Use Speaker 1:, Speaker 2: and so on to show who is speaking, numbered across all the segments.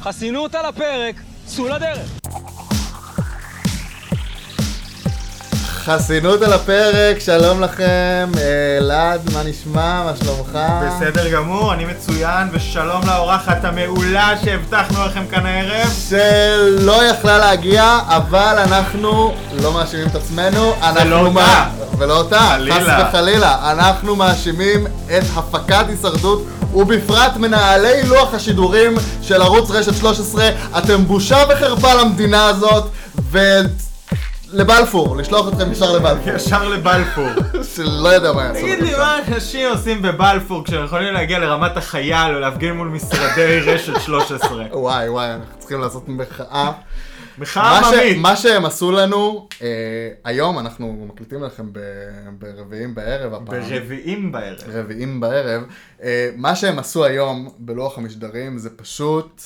Speaker 1: חסינות על הפרק, צאו לדרך.
Speaker 2: חסינות על הפרק, שלום לכם, אה, אלעד, מה נשמע? מה שלומך?
Speaker 3: בסדר גמור, אני מצוין, ושלום לאורחת המעולה שהבטחנו לכם כאן הערב.
Speaker 2: שלא יכלה להגיע, אבל אנחנו לא מאשימים את עצמנו. אנחנו
Speaker 3: ולא
Speaker 2: מה-
Speaker 3: אותה.
Speaker 2: ולא אותה,
Speaker 3: חלילה.
Speaker 2: חס וחלילה. אנחנו מאשימים את הפקת הישרדות, ובפרט מנהלי לוח השידורים של ערוץ רשת 13. אתם בושה וחרפה למדינה הזאת, ו... לבלפור, לשלוח אתכם ישר לבלפור,
Speaker 3: ישר לבלפור.
Speaker 2: שלא יודע מה יעשו.
Speaker 3: תגיד לי, מה אנשים עושים בבלפור כשהם יכולים להגיע לרמת החייל או להפגין מול משרדי רשת 13?
Speaker 2: וואי וואי, אנחנו צריכים לעשות מחאה.
Speaker 3: מחאה
Speaker 2: מה ש-
Speaker 3: עממית.
Speaker 2: מה שהם עשו לנו, אה, היום אנחנו מקליטים לכם ב- ברביעים בערב הפעם.
Speaker 3: ברביעים בערב.
Speaker 2: רביעים בערב. אה, מה שהם עשו היום בלוח המשדרים זה פשוט...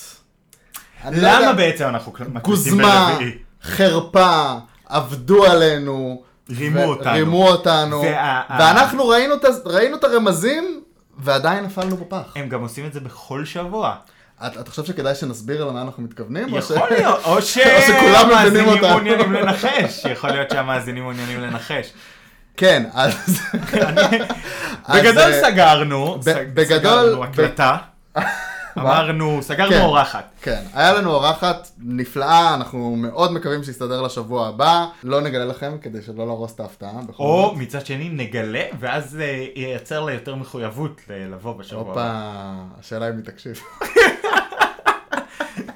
Speaker 2: אני לא יודע,
Speaker 3: למה בעצם אנחנו מקליטים ברביעי?
Speaker 2: כוזמה, חרפה, עבדו עלינו.
Speaker 3: רימו
Speaker 2: ו-
Speaker 3: אותנו.
Speaker 2: רימו אותנו.
Speaker 3: וה-
Speaker 2: ואנחנו ראינו את ה- ראינו את הרמזים, ועדיין נפלנו בפח.
Speaker 3: הם גם עושים את זה בכל שבוע.
Speaker 2: אתה אתה חושב שכדאי שנסביר למה אנחנו מתכוונים? או ש-
Speaker 3: יכול להיות, או
Speaker 2: שכולם מבינים
Speaker 3: שהמאזינים
Speaker 2: אותנו.
Speaker 3: מעוניינים לנחש. יכול להיות שהמאזינים מעוניינים לנחש.
Speaker 2: כן, אז... אז,
Speaker 3: בגדול
Speaker 2: אה,
Speaker 3: סגרנו,
Speaker 2: ב-
Speaker 3: סג-
Speaker 2: בגדול-
Speaker 3: סגרנו הקלטה, אמרנו, סגרנו
Speaker 2: כן.
Speaker 3: אורחת.
Speaker 2: כן, היה לנו אורחת נפלאה, אנחנו מאוד מקווים שיסתדר לשבוע הבא. לא נגלה לכם כדי שלא להרוס את ההפתעה. בכל
Speaker 3: או
Speaker 2: זאת.
Speaker 3: מצד שני נגלה, ואז אה, ייצר לה יותר מחויבות ל- לבוא בשבוע הבא.
Speaker 2: הופה, השאלה אם היא תקשיב.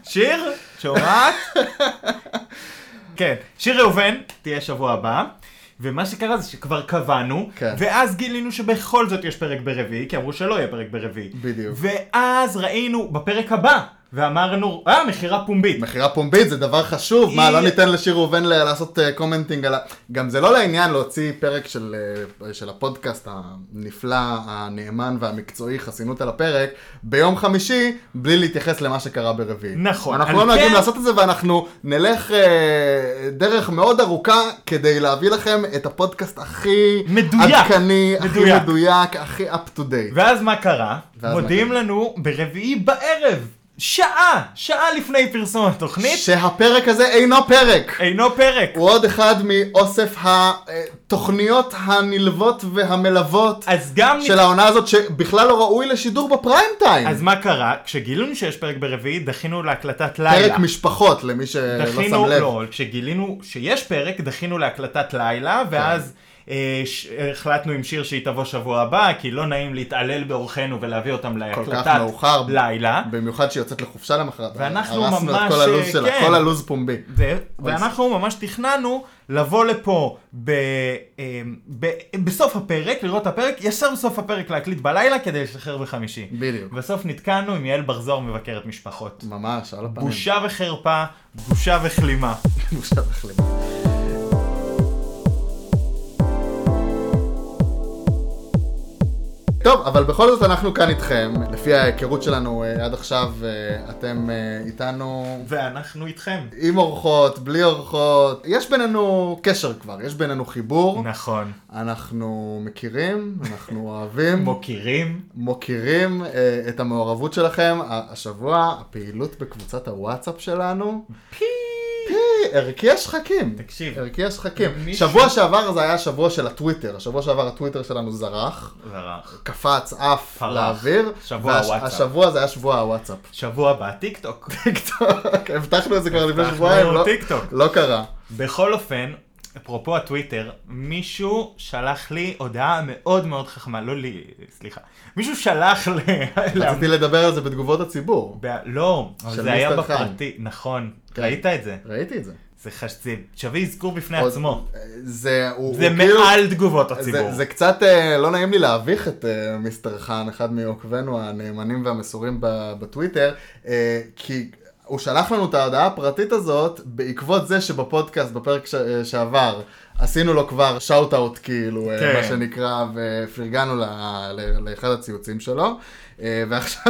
Speaker 3: שיר, שומעת? כן, שיר ראובן תהיה שבוע הבא. ומה שקרה זה שכבר קבענו,
Speaker 2: כן.
Speaker 3: ואז גילינו שבכל זאת יש פרק ברביעי, כי אמרו שלא יהיה פרק ברביעי.
Speaker 2: בדיוק.
Speaker 3: ואז ראינו בפרק הבא, ואמרנו, אה, מכירה פומבית.
Speaker 2: מכירה פומבית זה דבר חשוב, מה,
Speaker 3: היא-
Speaker 2: לא ניתן לשיר ראובן ל- לעשות אה, קומנטינג על ה... גם זה לא לעניין להוציא פרק של, אה, של הפודקאסט הנפלא, הנאמן והמקצועי, חסינות על הפרק, ביום חמישי, בלי להתייחס למה שקרה ברביעי.
Speaker 3: נכון,
Speaker 2: אנחנו
Speaker 3: על
Speaker 2: לא נוהגים
Speaker 3: כן-
Speaker 2: לעשות את זה, ואנחנו נלך אה, דרך מאוד ארוכה כדי להביא לכם את הפודקאסט הכי...
Speaker 3: מדויק.
Speaker 2: עדכני, הכי
Speaker 3: מדויק.
Speaker 2: מדויק, הכי up to date.
Speaker 3: ואז מה קרה?
Speaker 2: ואז מה
Speaker 3: מודיעים לנו ברביעי בערב, שעה, שעה לפני פרסום התוכנית,
Speaker 2: שהפרק הזה אינו פרק.
Speaker 3: אינו פרק.
Speaker 2: הוא עוד אחד מאוסף התוכניות הנלוות והמלוות
Speaker 3: אז גם...
Speaker 2: של העונה הזאת, שבכלל לא ראוי לשידור בפריים טיים.
Speaker 3: אז מה קרה? כשגילינו שיש פרק ברביעי, דחינו להקלטת לילה.
Speaker 2: פרק משפחות, למי שלא
Speaker 3: דחינו,
Speaker 2: שם לב.
Speaker 3: לא, כשגילינו שיש פרק, דחינו להקלטת לילה,
Speaker 2: כן.
Speaker 3: ואז אה, ש- החלטנו עם שיר שהיא תבוא שבוע הבא, כי לא נעים להתעלל באורחינו ולהביא אותם
Speaker 2: כל
Speaker 3: להקלטת
Speaker 2: כך מאוחר,
Speaker 3: לילה.
Speaker 2: במיוחד שהיא יוצאת לחופשה למחרת.
Speaker 3: ואנחנו
Speaker 2: הרסנו את
Speaker 3: ממש,
Speaker 2: כל הלו"ז
Speaker 3: אה,
Speaker 2: שלה,
Speaker 3: כן.
Speaker 2: כל הלו"ז פומבי.
Speaker 3: זה, ואנחנו ממש תכננו לבוא לפה ב, אמ, ב, בסוף הפרק, לראות את הפרק, ישר בסוף הפרק להקליט בלילה כדי לשחרר בחמישי.
Speaker 2: בדיוק.
Speaker 3: בסוף נתקענו עם יעל בר זוהר מבקרת משפחות.
Speaker 2: ממש, על הפנים.
Speaker 3: בושה וחרפה, בושה וכלימה.
Speaker 2: בושה וחלימה. טוב, אבל בכל זאת אנחנו כאן איתכם. לפי ההיכרות שלנו אה, עד עכשיו, אה, אתם אה, איתנו
Speaker 3: ואנחנו איתכם.
Speaker 2: עם אורחות, בלי אורחות. יש בינינו קשר כבר, יש בינינו חיבור.
Speaker 3: נכון.
Speaker 2: אנחנו מכירים, אנחנו אוהבים,
Speaker 3: מוקירים.
Speaker 2: מוקירים אה, את המעורבות שלכם. ה- השבוע, הפעילות בקבוצת הוואטסאפ שלנו.
Speaker 3: פי.
Speaker 2: אה, ערכי השחקים.
Speaker 3: תקשיב.
Speaker 2: ערכי השחקים.
Speaker 3: מישהו-
Speaker 2: שבוע שעבר זה היה שבוע של הטוויטר. השבוע שעבר הטוויטר שלנו זרח,
Speaker 3: זרח.
Speaker 2: קפץ אף
Speaker 3: פרח.
Speaker 2: לאוויר.
Speaker 3: שבוע
Speaker 2: והש-
Speaker 3: הוואטסאפ.
Speaker 2: השבוע זה היה שבוע הוואטסאפ.
Speaker 3: שבוע הבא, טיק טוק.
Speaker 2: הבטחנו את זה כבר לפני
Speaker 3: אנחנו
Speaker 2: שבועיים, לא-
Speaker 3: טיק טוק.
Speaker 2: לא קרה.
Speaker 3: בכל אופן, אפרופו הטוויטר, מישהו שלח לי הודעה מאוד מאוד חכמה, לא לי, סליחה. מישהו שלח ל... ל-
Speaker 2: רציתי לדבר על זה בתגובות הציבור.
Speaker 3: ב- לא, אבל
Speaker 2: של
Speaker 3: זה היה
Speaker 2: מיסטר חיים.
Speaker 3: בפרטי, נכון.
Speaker 2: כן.
Speaker 3: ראית את זה?
Speaker 2: ראיתי את זה.
Speaker 3: זה חש- זה שווה אזכור בפני
Speaker 2: עוד-
Speaker 3: עצמו.
Speaker 2: זה הוא-
Speaker 3: זה
Speaker 2: הוא כאילו-
Speaker 3: מעל תגובות
Speaker 2: זה,
Speaker 3: הציבור.
Speaker 2: זה קצת אה, לא נעים לי להביך את אה, מיסטר חאן, אחד מעוקבינו הנאמנים והמסורים ב- בטוויטר, אה, כי הוא שלח לנו את ההודעה הפרטית הזאת בעקבות זה שבפודקאסט, בפרק ש, אה, שעבר, עשינו לו כבר שאוט אאוט כאילו, אה,
Speaker 3: כן.
Speaker 2: מה שנקרא, ופרגנו ל, ל, לאחד הציוצים שלו, אה, ועכשיו,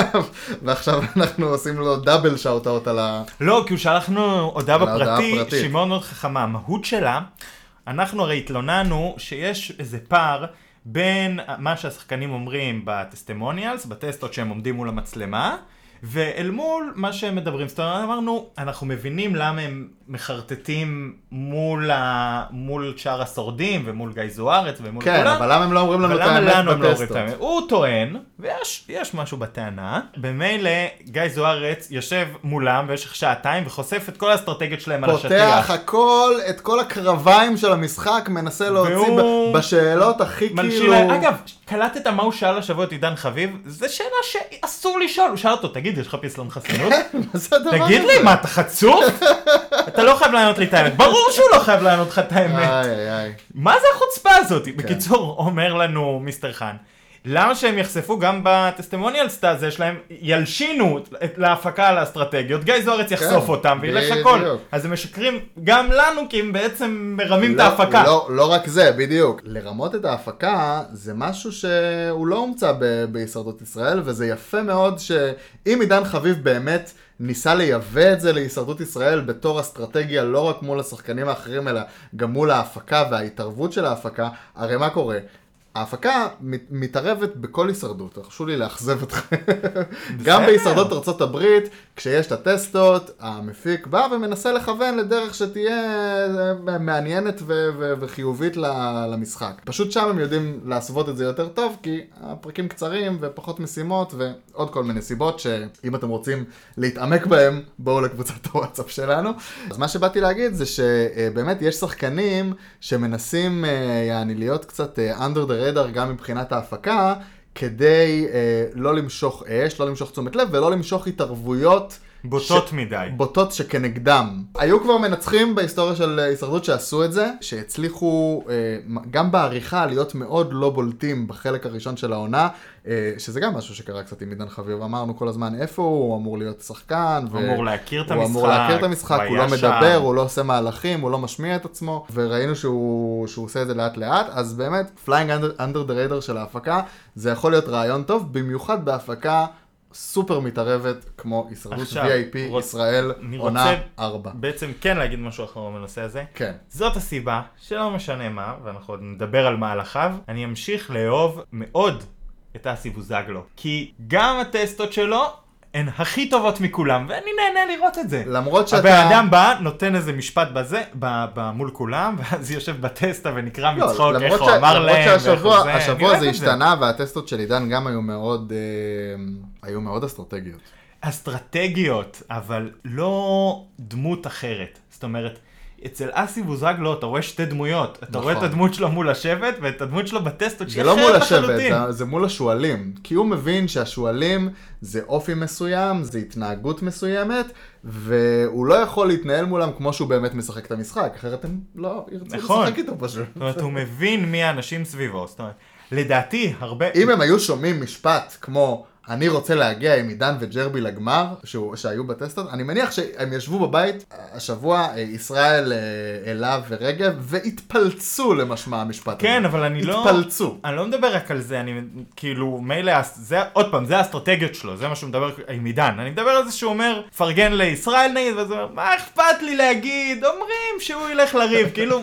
Speaker 2: ועכשיו אנחנו עושים לו דאבל שאוט אאוט על ה...
Speaker 3: לא, כי הוא שלח לנו הודעה
Speaker 2: על ההודעה
Speaker 3: בפרטי,
Speaker 2: הפרטית.
Speaker 3: שהיא מאוד מאוד חכמה. המהות שלה, אנחנו הרי התלוננו שיש איזה פער בין מה שהשחקנים אומרים בטסטימוניאלס, בטסטות שהם עומדים מול המצלמה, ואל מול מה שהם מדברים, זאת אומרת, אמרנו, אנחנו מבינים למה הם מחרטטים מול, ה... מול שאר השורדים ומול גיא זוארץ ומול
Speaker 2: כן,
Speaker 3: כולם.
Speaker 2: אבל למה הם לא אומרים לנו את
Speaker 3: אבל למה לנו
Speaker 2: האמת
Speaker 3: הם לא אומרים
Speaker 2: בטסטות?
Speaker 3: את האמת? הוא טוען, ויש יש משהו בטענה, במילא גיא זוארץ יושב מולם במשך שעתיים וחושף את כל האסטרטגיות שלהם על
Speaker 2: פותח
Speaker 3: השטיח.
Speaker 2: הכל, את כל הקרביים של המשחק, מנסה להוציא
Speaker 3: והוא-
Speaker 2: ב- בשאלות הכי
Speaker 3: מלשין
Speaker 2: כאילו...
Speaker 3: להם, אגב, קלטת מה הוא שאל השבוע את עידן חביב? זו שאלה שאסור לשאול, הוא שאל אותו, תגיד, יש לך פסלון חסינות?
Speaker 2: מה זה הדבר
Speaker 3: תגיד
Speaker 2: הזה?
Speaker 3: לי, מה, אתה חצוף? אתה לא חייב לענות לי את האמת. ברור שהוא לא חייב לענות לך את האמת.
Speaker 2: איי, איי, איי.
Speaker 3: מה זה החוצפה הזאת?
Speaker 2: כן.
Speaker 3: בקיצור, אומר לנו מיסטר חאן, למה שהם יחשפו גם בטסטימוניאלס הזה שלהם, ילשינו את להפקה על האסטרטגיות, גיא זוארץ יחשוף
Speaker 2: כן,
Speaker 3: אותם וילך
Speaker 2: בדיוק.
Speaker 3: הכל. אז הם משקרים גם לנו, כי הם בעצם מרמים את
Speaker 2: לא-
Speaker 3: ההפקה.
Speaker 2: לא, לא רק זה, בדיוק. לרמות את ההפקה זה משהו שהוא לא הומצא ב- בהישרדות ישראל, וזה יפה מאוד שאם עידן חביב באמת ניסה לייבא את זה להישרדות ישראל בתור אסטרטגיה לא רק מול השחקנים האחרים, אלא גם מול ההפקה וההתערבות של ההפקה, הרי מה קורה? ההפקה מת- מתערבת בכל הישרדות, הרשו לי לאכזב אתכם. גם בהישרדות ארצות הברית, כשיש את הטסטות, המפיק בא ומנסה לכוון לדרך שתהיה אה, מעניינת ו- ו- וחיובית ל- למשחק. פשוט שם הם יודעים להסוות את זה יותר טוב, כי הפרקים קצרים ופחות משימות ועוד כל מיני סיבות שאם אתם רוצים להתעמק בהם, בואו לקבוצת הוואטסאפ שלנו. אז מה שבאתי להגיד זה שבאמת יש שחקנים שמנסים, אה, יעני, להיות קצת אה, under the radar גם מבחינת ההפקה. כדי אה, לא למשוך אש, לא למשוך תשומת לב ולא למשוך התערבויות
Speaker 3: בוטות מדי.
Speaker 2: בוטות שכנגדם. היו כבר מנצחים בהיסטוריה של אה, הישרדות שעשו את זה, שהצליחו אה, מ- גם בעריכה להיות מאוד לא בולטים בחלק הראשון של העונה, אה, שזה גם משהו שקרה קצת עם עידן חביב, אמרנו כל הזמן איפה הוא, הוא אמור להיות שחקן, ו-
Speaker 3: הוא אמור להכיר את
Speaker 2: הוא
Speaker 3: המשחק,
Speaker 2: אמור להכיר את המשחק, הוא
Speaker 3: היה
Speaker 2: לא
Speaker 3: שם.
Speaker 2: מדבר, הוא לא עושה מהלכים, הוא לא משמיע את עצמו, וראינו שהוא, שהוא עושה את זה לאט לאט, אז באמת, פליינג אנדר דה ריידר של ההפקה, זה יכול להיות רעיון טוב, במיוחד בהפקה סופר מתערבת, כמו הישרדות
Speaker 3: עכשיו,
Speaker 2: VIP
Speaker 3: רוצ-
Speaker 2: ישראל,
Speaker 3: אני
Speaker 2: עונה
Speaker 3: רוצה-
Speaker 2: 4.
Speaker 3: בעצם כן להגיד משהו אחרון בנושא הזה.
Speaker 2: כן.
Speaker 3: זאת הסיבה שלא משנה מה, ואנחנו עוד נדבר על מהלכיו, אני אמשיך לאהוב מאוד את אסי בוזגלו. כי גם הטסטות שלו הן הכי טובות מכולם, ואני נהנה לראות את זה.
Speaker 2: למרות שאתה...
Speaker 3: הבן אדם בא, נותן איזה משפט בזה, ב, ב, מול כולם, ואז יושב בטסטה ונקרע
Speaker 2: לא,
Speaker 3: מצחוק, איך
Speaker 2: למרות
Speaker 3: הוא
Speaker 2: שה-
Speaker 3: אמר
Speaker 2: למרות
Speaker 3: להם, ואיך הוא
Speaker 2: שהשבוע
Speaker 3: זה, אני
Speaker 2: השבוע
Speaker 3: אוהב
Speaker 2: זה
Speaker 3: את
Speaker 2: השתנה והטסטות של עידן גם היו מאוד, אה, היו מאוד אסטרטגיות.
Speaker 3: אסטרטגיות, אבל לא דמות אחרת. זאת אומרת, אצל אסי בוזגלו אתה רואה שתי דמויות. אתה
Speaker 2: נכון.
Speaker 3: רואה את הדמות שלו מול השבט, ואת הדמות שלו בטסטות
Speaker 2: זה
Speaker 3: שהיא
Speaker 2: לא מול
Speaker 3: אחרת
Speaker 2: השבט,
Speaker 3: לחלוטין.
Speaker 2: זה- זה מול השועלים. כי הוא מבין שהשועלים זה אופי מסוים, זה התנהגות מסוימת, והוא לא יכול להתנהל מולם כמו שהוא באמת משחק את המשחק, אחרת הם לא ירצו
Speaker 3: נכון.
Speaker 2: לשחק איתו פשוט.
Speaker 3: זאת אומרת, הוא מבין מי האנשים סביבו. זאת אומרת, לדעתי, הרבה...
Speaker 2: אם הם היו שומעים משפט כמו, אני רוצה להגיע עם עידן וג'רבי לגמר, שהוא, שהיו בטסטות, אני מניח שהם ישבו בבית השבוע, אה, ישראל, אה, אלה ורגב, והתפלצו למשמע המשפט הזה.
Speaker 3: כן, אבל אני לא...
Speaker 2: התפלצו.
Speaker 3: אני לא מדבר רק על זה, אני כאילו, מילא, הס- זה, עוד פעם, זה האסטרטגיות שלו, זה מה שהוא מדבר עם עידן. אני מדבר על זה שהוא אומר, פרגן לישראל נגיד, ואז הוא אומר, מה אכפת לי להגיד, אומרים שהוא ילך לריב, כאילו,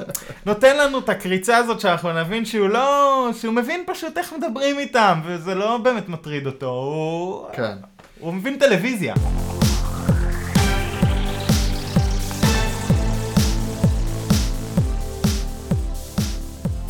Speaker 3: נותן לנו את הקריצה הזאת שאנחנו נבין שהוא לא, שהוא מבין פשוט איך מדברים איתם, וזה לא באמת מטריד אותו, הוא...
Speaker 2: כן.
Speaker 3: הוא מבין טלוויזיה.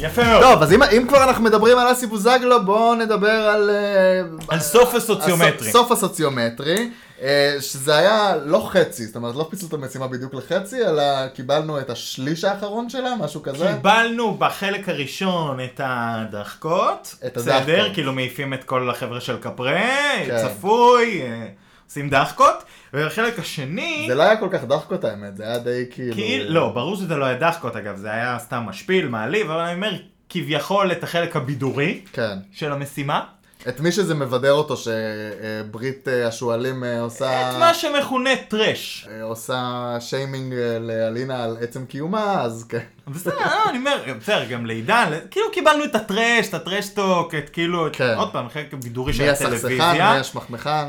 Speaker 3: יפה מאוד.
Speaker 2: טוב, אז לא, אם, אם כבר אנחנו מדברים על אסי בוזגלו, בואו נדבר על... אה,
Speaker 3: על סוף הסוציומטרי.
Speaker 2: הסוף, סוף הסוציומטרי, אה, שזה היה לא חצי, זאת אומרת, לא פיצלו את המשימה בדיוק לחצי, אלא קיבלנו את השליש האחרון שלה, משהו כזה.
Speaker 3: קיבלנו בחלק הראשון את הדחקות,
Speaker 2: את
Speaker 3: בסדר,
Speaker 2: הדחקות.
Speaker 3: כאילו מעיפים את כל החבר'ה של קפרה,
Speaker 2: כן.
Speaker 3: צפוי, אה, עושים דחקות, ובחלק השני,
Speaker 2: זה לא היה כל כך דחקות האמת, זה היה די כאילו...
Speaker 3: כאילו, לא, ברור שזה לא היה דחקות אגב, זה היה סתם משפיל, מעליב, אבל אני אומר, כביכול את החלק הבידורי
Speaker 2: כן.
Speaker 3: של המשימה,
Speaker 2: את מי שזה מבדר אותו, שברית השועלים אה, עושה...
Speaker 3: את מה שמכונה טרש.
Speaker 2: אה, עושה שיימינג אה, לאלינה על עצם קיומה, אז כן.
Speaker 3: בסדר, לא, אני אומר, בסדר, גם לעידן, כאילו קיבלנו את הטרש, את הטרשטוק, את כאילו, את-
Speaker 2: כן.
Speaker 3: עוד פעם, החלק הבידורי של
Speaker 2: מי
Speaker 3: הטלוויזיה.
Speaker 2: הסכסכן, מי השמחמכן.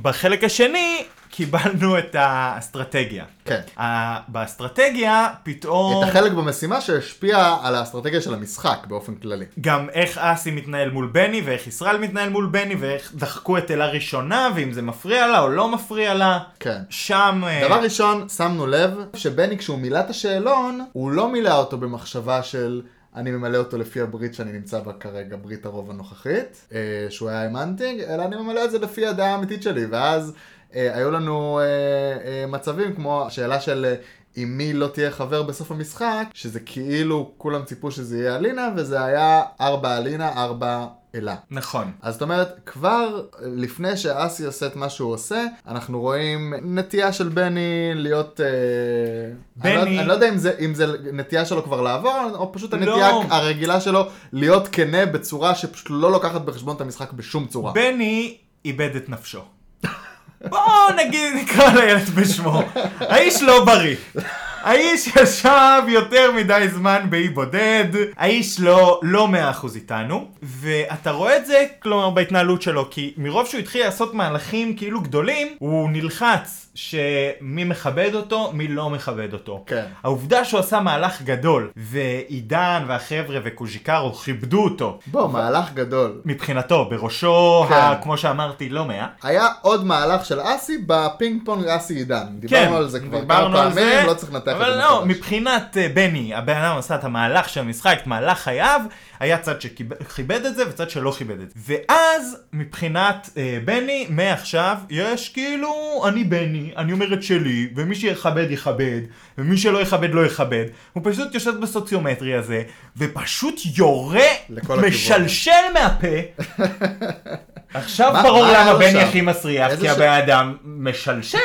Speaker 3: ובחלק השני, קיבלנו את האסטרטגיה.
Speaker 2: כן.
Speaker 3: ה- באסטרטגיה פתאום...
Speaker 2: את החלק במשימה שהשפיע על האסטרטגיה של המשחק באופן כללי.
Speaker 3: גם איך אסי מתנהל מול בני, ואיך ישראל מתנהל מול בני, ואיך דחקו את אלה ראשונה, ואם זה מפריע לה או לא מפריע לה.
Speaker 2: כן.
Speaker 3: שם... אה,
Speaker 2: דבר ראשון, שמנו לב שבני כשהוא מילא את השאלון, הוא לא מילא אותו במחשבה של אני ממלא אותו לפי הברית שאני נמצא בה כרגע, ברית הרוב הנוכחית, אה, שהוא היה עם הנטינג, אלא אני ממלא את זה לפי הדעה האמיתית שלי, ואז אה, היו לנו אה, אה, מצבים כמו השאלה של... אה, עם מי לא תהיה חבר בסוף המשחק, שזה כאילו כולם ציפו שזה יהיה אלינה, וזה היה ארבע אלינה, ארבע אלה.
Speaker 3: נכון.
Speaker 2: אז זאת אומרת, כבר לפני שאסי עושה את מה שהוא עושה, אנחנו רואים נטייה של בני להיות... אה,
Speaker 3: בני-
Speaker 2: אני לא, אני לא יודע אם זה, אם זה נטייה שלו כבר לעבור, או פשוט הנטייה
Speaker 3: לא.
Speaker 2: הרגילה שלו להיות כנה בצורה שפשוט לא לוקחת בחשבון את המשחק בשום צורה.
Speaker 3: בני איבד את נפשו. בואו נגיד נקרא לילד בשמו. האיש לא בריא. האיש ישב יותר מדי זמן באי בודד, האיש לא, לא מאה אחוז איתנו, ואתה רואה את זה, כלומר, בהתנהלות שלו, כי מרוב שהוא התחיל לעשות מהלכים כאילו גדולים, הוא נלחץ שמי מכבד אותו, מי לא מכבד אותו.
Speaker 2: כן.
Speaker 3: העובדה שהוא עשה מהלך גדול, ועידן והחבר'ה וקוז'יקרו כיבדו אותו,
Speaker 2: בוא, מהלך גדול.
Speaker 3: מבחינתו, בראשו,
Speaker 2: כן.
Speaker 3: ה, כמו שאמרתי, לא מאה.
Speaker 2: היה עוד מהלך של אסי בפינג פונג אסי עידן. דיברנו על זה כבר כמה
Speaker 3: כן. דיברנו על
Speaker 2: פעמים,
Speaker 3: זה,
Speaker 2: לא צריך לנתח את זה
Speaker 3: אבל לא,
Speaker 2: מחדש.
Speaker 3: מבחינת אה, בני, הבן אדם עשה את המהלך של המשחק, את מהלך חייו, היה צד שכיבד את זה וצד שלא כיבד את זה. ואז, מבחינת אה, בני, מעכשיו, יש כאילו, אני בני, אני אומר את שלי, ומי שיכבד יכבד, ומי שלא יכבד לא יכבד. הוא פשוט יושב בסוציומטרי הזה, ופשוט יורה,
Speaker 2: לכל
Speaker 3: משלשל מהפה. עכשיו
Speaker 2: מה-
Speaker 3: ברור
Speaker 2: מה היה
Speaker 3: למה
Speaker 2: לו שם?
Speaker 3: בני הכי מסריח,
Speaker 2: איזה
Speaker 3: כי
Speaker 2: ש-
Speaker 3: הבן אדם משלשל.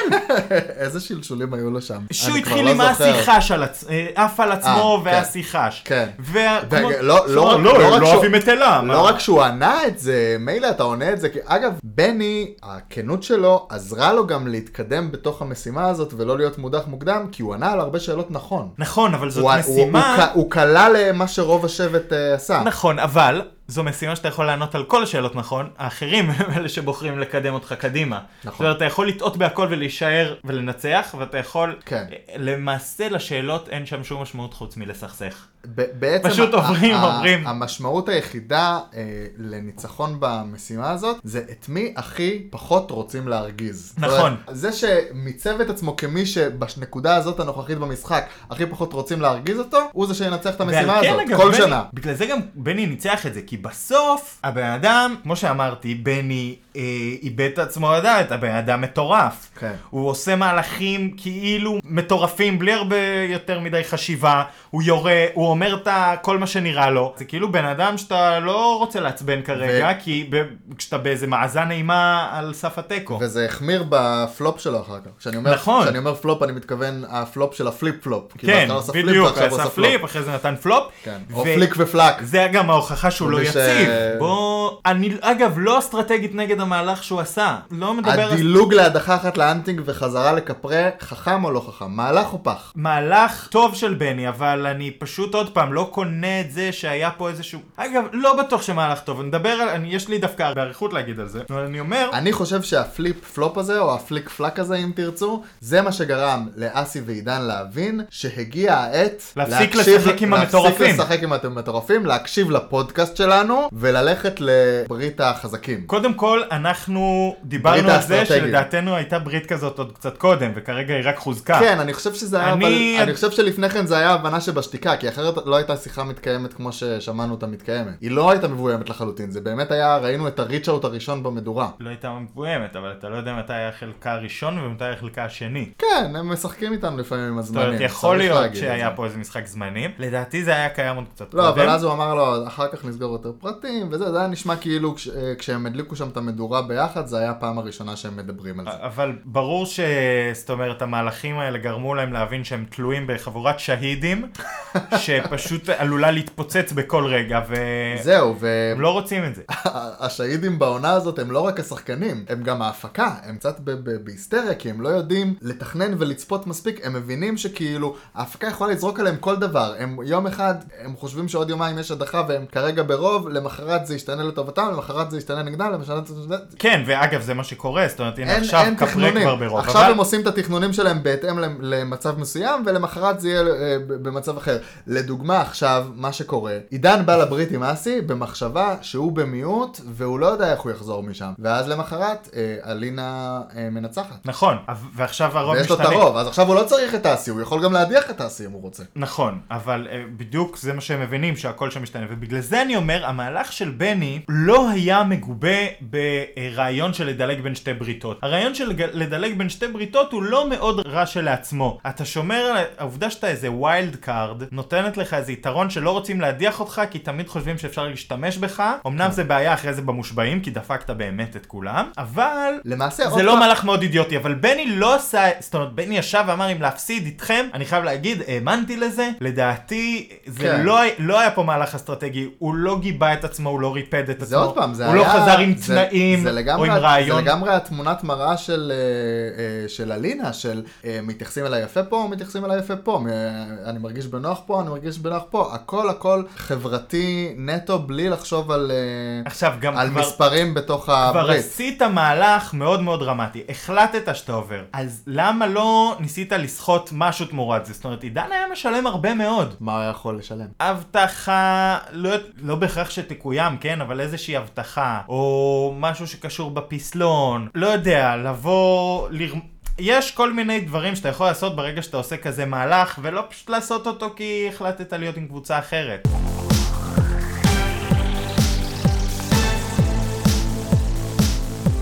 Speaker 2: איזה שלשולים היו לו שם.
Speaker 3: שהוא
Speaker 2: אני כבר
Speaker 3: התחיל
Speaker 2: לא
Speaker 3: עם
Speaker 2: זוכר.
Speaker 3: האסי חש, על עצ- אה, עף על עצמו
Speaker 2: אה, כן.
Speaker 3: ואסי חש.
Speaker 2: כן.
Speaker 3: וה-
Speaker 2: ו-
Speaker 3: כמו-
Speaker 2: לא- לא
Speaker 3: לא,
Speaker 2: רק-
Speaker 3: לא,
Speaker 2: לא
Speaker 3: הם
Speaker 2: רק
Speaker 3: לא
Speaker 2: שהוא-
Speaker 3: אוהבים את אלה. מה?
Speaker 2: לא רק שהוא ענה את זה, מילא אתה עונה את זה, כי אגב, בני, הכנות שלו עזרה לו גם להתקדם בתוך המשימה הזאת ולא להיות מודח מוקדם, כי הוא ענה על הרבה שאלות נכון.
Speaker 3: נכון, אבל זאת
Speaker 2: הוא- הוא- הוא
Speaker 3: משימה...
Speaker 2: כ- הוא כלל מה שרוב השבט אה, עשה.
Speaker 3: נכון, אבל זו משימה שאתה יכול לענות על כל השאלות נכון, האחרים הם אלה שבוחרים לקדם אותך קדימה.
Speaker 2: נכון.
Speaker 3: זאת אומרת, אתה יכול לטעות בהכל ולהישאר ולנצח, ואתה יכול...
Speaker 2: כן.
Speaker 3: למעשה לשאלות אין שם שום משמעות חוץ מלסכסך.
Speaker 2: ב- בעצם
Speaker 3: פשוט
Speaker 2: ה-
Speaker 3: עוברים,
Speaker 2: ה-
Speaker 3: עוברים.
Speaker 2: המשמעות היחידה אה, לניצחון במשימה הזאת, זה את מי הכי פחות רוצים להרגיז. זאת
Speaker 3: נכון.
Speaker 2: אומרת, זה שמיצב את עצמו כמי שבנקודה הזאת הנוכחית במשחק, הכי פחות רוצים להרגיז אותו, הוא זה שינצח את המשימה
Speaker 3: ועל כן,
Speaker 2: הזאת,
Speaker 3: אגב,
Speaker 2: כל
Speaker 3: בני-
Speaker 2: שנה.
Speaker 3: בגלל זה גם בני ניצח את זה, כי בסוף הבן אדם, כמו שאמרתי, בני אה, איבד את עצמו לדעת, הבן אדם מטורף.
Speaker 2: כן.
Speaker 3: הוא עושה מהלכים כאילו מטורפים, בלי הרבה יותר מדי חשיבה, הוא יורה, הוא אומר את ה- כל מה שנראה לו. זה כאילו בן אדם שאתה לא רוצה לעצבן כרגע,
Speaker 2: ו-
Speaker 3: כי ב- כשאתה באיזה מאזן אימה על סף התיקו.
Speaker 2: וזה החמיר בפלופ שלו אחר כך. כשאני אומר,
Speaker 3: נכון.
Speaker 2: כשאני אומר פלופ, אני מתכוון הפלופ של הפליפ פלופ. כאילו,
Speaker 3: כן,
Speaker 2: בהתחלה הוא עשה פליפ,
Speaker 3: בדיוק,
Speaker 2: ועכשיו הוא
Speaker 3: עשה
Speaker 2: עשה פלופ.
Speaker 3: פליפ, אחרי זה נתן פלופ.
Speaker 2: כן, או
Speaker 3: ו-
Speaker 2: פליק ופלק.
Speaker 3: זה היה גם ההוכחה שהוא לא
Speaker 2: ומי ש-
Speaker 3: יציב. בוא... אני, אגב, לא אסטרטגית נגד המהלך שהוא עשה. לא מדבר על...
Speaker 2: הדילוג להדחה אחת לאנטינג וחזרה לקפרה, חכם או לא חכם? מהלך או פח?
Speaker 3: מהלך טוב של בני, אבל אני פשוט עוד פעם לא קונה את זה שהיה פה איזשהו... אגב, לא בטוח שמהלך טוב, אני מדבר על... אני, יש לי דווקא באריכות להגיד על זה, אבל אני אומר...
Speaker 2: אני חושב שהפליפ פלופ הזה, או הפליק פלק הזה, אם תרצו, זה מה שגרם לאסי ועידן להבין שהגיעה העת
Speaker 3: להפסיק
Speaker 2: להקשיב-
Speaker 3: לשחק עם
Speaker 2: להפסיק
Speaker 3: המטורפים.
Speaker 2: לשחק עם המטורפים, להקשיב לפודקאסט שלנו, וללכת לברית החזקים.
Speaker 3: קודם כל, אנחנו דיברנו על זה
Speaker 2: האסטרטגיים.
Speaker 3: שלדעתנו הייתה ברית כזאת עוד קצת קודם, וכרגע היא רק חוזקה.
Speaker 2: כן, אני חושב שזה היה,
Speaker 3: אני-
Speaker 2: אבל אני חושב שלפני כן זה היה הבנה שבשתיקה, כי אחרת לא הייתה שיחה מתקיימת כמו ששמענו אותה מתקיימת. היא לא הייתה מבוימת לחלוטין, זה באמת היה, ראינו את הריצ'אוט הראשון במדורה.
Speaker 3: לא הייתה מבוימת, אבל אתה לא יודע מתי היה חלקה הראשון ומתי היה חלקה השני.
Speaker 2: כן, הם משחקים איתנו לפעמים עם
Speaker 3: זאת
Speaker 2: הזמנים.
Speaker 3: אומרת, יכול
Speaker 2: צריך
Speaker 3: להיות
Speaker 2: להגיד את
Speaker 3: שהיה
Speaker 2: זה.
Speaker 3: פה איזה משחק זמנים. לדעתי זה היה קיים עוד קצת קודם.
Speaker 2: לא, אבל אז הוא אמר לו, אחר כך נסגור יותר פרטים, וזה, זה היה נשמע כאילו כש- אה, כשהם הדליקו שם את המדורה ביחד, זה היה הפעם הראשונה שהם מדברים על זה.
Speaker 3: אבל ברור ש... זאת אומרת, המהלכים האלה גרמו להם להבין שהם תלויים בחבורת שהידים, שפשוט עלולה להתפוצץ בכל רגע, והם
Speaker 2: זהו, ו...
Speaker 3: לא רוצים את זה.
Speaker 2: השהידים בעונה הזאת הם לא רק השחקנים, הם גם ההפקה, הם קצת ב- ב- בהיסטריה, כי הם לא יודעים לתכנן ולצפות מספיק, הם מבינים שכאילו, ההפקה יכולה לזרוק עליהם כל דבר, הם יום אחד, הם חושבים שעוד יומיים יש הדחה והם כרגע ברוב, למחרת זה ישתנה לטובתם לטובתם, למחרת זה ישתנה נגדם, למשנת...
Speaker 3: כן, ואגב, זה מה שקורה, זאת אומרת, הנה
Speaker 2: אין,
Speaker 3: עכשיו
Speaker 2: אין
Speaker 3: קפרק
Speaker 2: תכנונים.
Speaker 3: כבר ברוב.
Speaker 2: עכשיו
Speaker 3: אבל-
Speaker 2: הם עושים את התכנונים שלהם בהתאם למ- למצב מסוים, ולמחרת זה יהיה אה, ב- במצב אחר. לדוגמה עכשיו, מה שקורה, עידן בא לברית עם אסי במחשבה שהוא במיעוט, והוא לא יודע איך הוא יחזור משם. ואז למחרת, אה, אלינה אה, מנצחת.
Speaker 3: נכון, ו- ועכשיו הרוב
Speaker 2: ויש לו את
Speaker 3: משתנה.
Speaker 2: הרוב, אז עכשיו הוא לא צריך את אסי, הוא יכול גם להדיח את אסי אם הוא רוצה.
Speaker 3: נכון, אבל אה, בדיוק זה מה שהם מבינים, שהכל שם משתנה. ובגלל זה אני אומר, המהלך של בני לא היה מגובה ברעיון של לדלג בין שתי בריתות. הרעיון של לג- לדלג בין שתי בריתות הוא לא מאוד רע שלעצמו. אתה שומר על העובדה שאתה איזה ויילד קארד, נותנת לך איזה יתרון שלא רוצים להדיח אותך, כי תמיד חושבים שאפשר להשתמש בך. אמנם זה בעיה אחרי זה במושבעים, כי דפקת באמת את כולם, אבל
Speaker 2: למעשה, עוד
Speaker 3: זה לא
Speaker 2: פעם-
Speaker 3: מהלך מאוד אידיוטי, אבל בני לא עשה, זאת אומרת, בני ישב ואמר אם להפסיד איתכם, אני חייב להגיד, האמנתי לזה, לדעתי, זה
Speaker 2: כן.
Speaker 3: לא, היה- לא היה פה מהלך אסטרטגי, הוא לא גיבה את עצמו, הוא לא ריפד את
Speaker 2: זה
Speaker 3: עצמו,
Speaker 2: עוד פעם, זה
Speaker 3: הוא
Speaker 2: היה...
Speaker 3: לא חזר עם
Speaker 2: זה-
Speaker 3: תנאים,
Speaker 2: זה
Speaker 3: או
Speaker 2: לגמרי-
Speaker 3: עם רעיון,
Speaker 2: זה לגמרי התמונת מראה של, אה, אה, של אלינה, של אה, מתייחסים אליי יפה פה או מתייחסים אליי יפה פה, מ- אני מרגיש בנוח פה, אני מרגיש בנוח פה, הכל הכל חברתי נטו בלי לחשוב על, אה,
Speaker 3: עכשיו גם
Speaker 2: על
Speaker 3: כבר...
Speaker 2: מספרים בתוך
Speaker 3: כבר
Speaker 2: הברית.
Speaker 3: עשית מהלך מאוד מאוד דרמטי, החלטת שאתה עובר, אז למה לא ניסית לסחוט משהו תמורת זה? זאת אומרת, עידן היה משלם הרבה מאוד.
Speaker 2: מה הוא היה יכול לשלם?
Speaker 3: הבטחה, כן. לא, לא בהכרח שתקוים, כן, אבל איזושהי הבטחה, או משהו שקשור בפסלון, לא יודע, לבוא, לר... יש כל מיני דברים שאתה יכול לעשות ברגע שאתה עושה כזה מהלך, ולא פשוט לעשות אותו כי החלטת להיות עם קבוצה אחרת.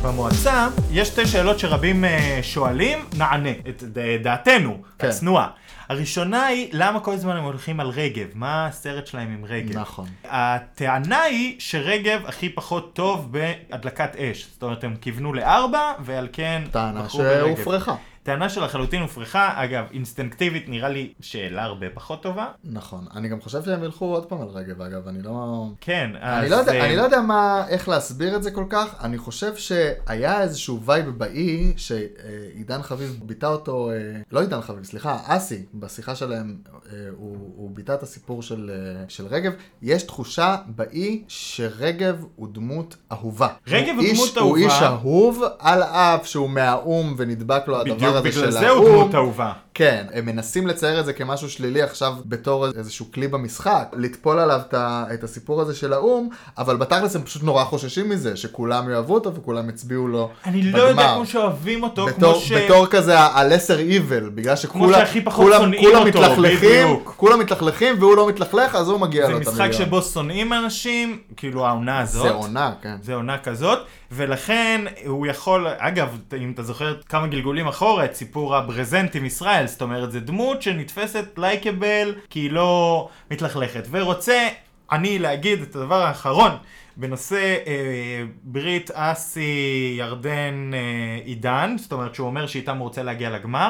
Speaker 3: במועצה יש שתי שאלות שרבים אה, שואלים, נענה את ד- דעתנו,
Speaker 2: כן.
Speaker 3: הצנועה. הראשונה היא, למה כל הזמן הם הולכים על רגב? מה הסרט שלהם עם רגב?
Speaker 2: נכון.
Speaker 3: הטענה היא שרגב הכי פחות טוב בהדלקת אש. זאת אומרת, הם כיוונו לארבע, ועל כן
Speaker 2: טענה
Speaker 3: בחרו ברגב.
Speaker 2: שהופרכה.
Speaker 3: טענה שלחלוטין הופרכה, אגב, אינסטינקטיבית נראה לי שאלה הרבה פחות טובה.
Speaker 2: נכון. אני גם חושב שהם ילכו עוד פעם על רגב, אגב, אני לא...
Speaker 3: כן, אז...
Speaker 2: אני לא, יודע,
Speaker 3: אה,
Speaker 2: אני לא יודע מה, איך להסביר את זה כל כך, אני חושב שהיה איזשהו וייב באי, שעידן חביב ביטא אותו, אה, לא עידן חביב, סליחה, אסי, בשיחה שלהם, אה, הוא, הוא ביטא את הסיפור של, אה, של רגב. יש תחושה באי שרגב הוא דמות אהובה.
Speaker 3: רגב
Speaker 2: הוא
Speaker 3: הוא
Speaker 2: איש-
Speaker 3: דמות
Speaker 2: הוא
Speaker 3: אהובה.
Speaker 2: איש אהוב, על אף שהוא מהאו"ם ונדבק לו הדבר
Speaker 3: בדיוק
Speaker 2: הזה של האו"ם.
Speaker 3: בגלל זה הוא דמות אהובה.
Speaker 2: כן, הם מנסים לצייר את זה כמשהו שלילי עכשיו בתור איזשהו כלי במשחק, לטפול עליו את ה- את הסיפור הזה של האו"ם, אבל בתכלס הם פשוט נורא חוששים מזה, שכולם יאהבו אותו וכולם יצביעו לו
Speaker 3: אני
Speaker 2: בגמר.
Speaker 3: לא יודע כמו שאוהבים אותו,
Speaker 2: בתור,
Speaker 3: כמו ש...
Speaker 2: בתור כזה ה-lesser evil, בגלל שכולם
Speaker 3: שהכי פחות
Speaker 2: כולם,
Speaker 3: שונאים
Speaker 2: כולם
Speaker 3: אותו,
Speaker 2: מתלכלכים,
Speaker 3: בדיוק.
Speaker 2: כולם מתלכלכים והוא לא מתלכלך, אז הוא מגיע
Speaker 3: זה
Speaker 2: לו את
Speaker 3: משחק
Speaker 2: המיליון.
Speaker 3: שבו שונאים אנשים, כאילו העונה הזאת.
Speaker 2: זה עונה, כן.
Speaker 3: זה עונה כזאת, ולכן הוא יכול, אגב, אם אתה זוכר כמה גלגולים אחורה, את סיפור הברזנט עם ישראל, זאת אומרת, זו דמות שנתפסת לייקבל, כי היא לא מתלכלכת. ורוצה אני להגיד את הדבר האחרון בנושא אה, ברית אסי ירדן אה, עידן, זאת אומרת שהוא אומר שאיתם הוא רוצה להגיע לגמר.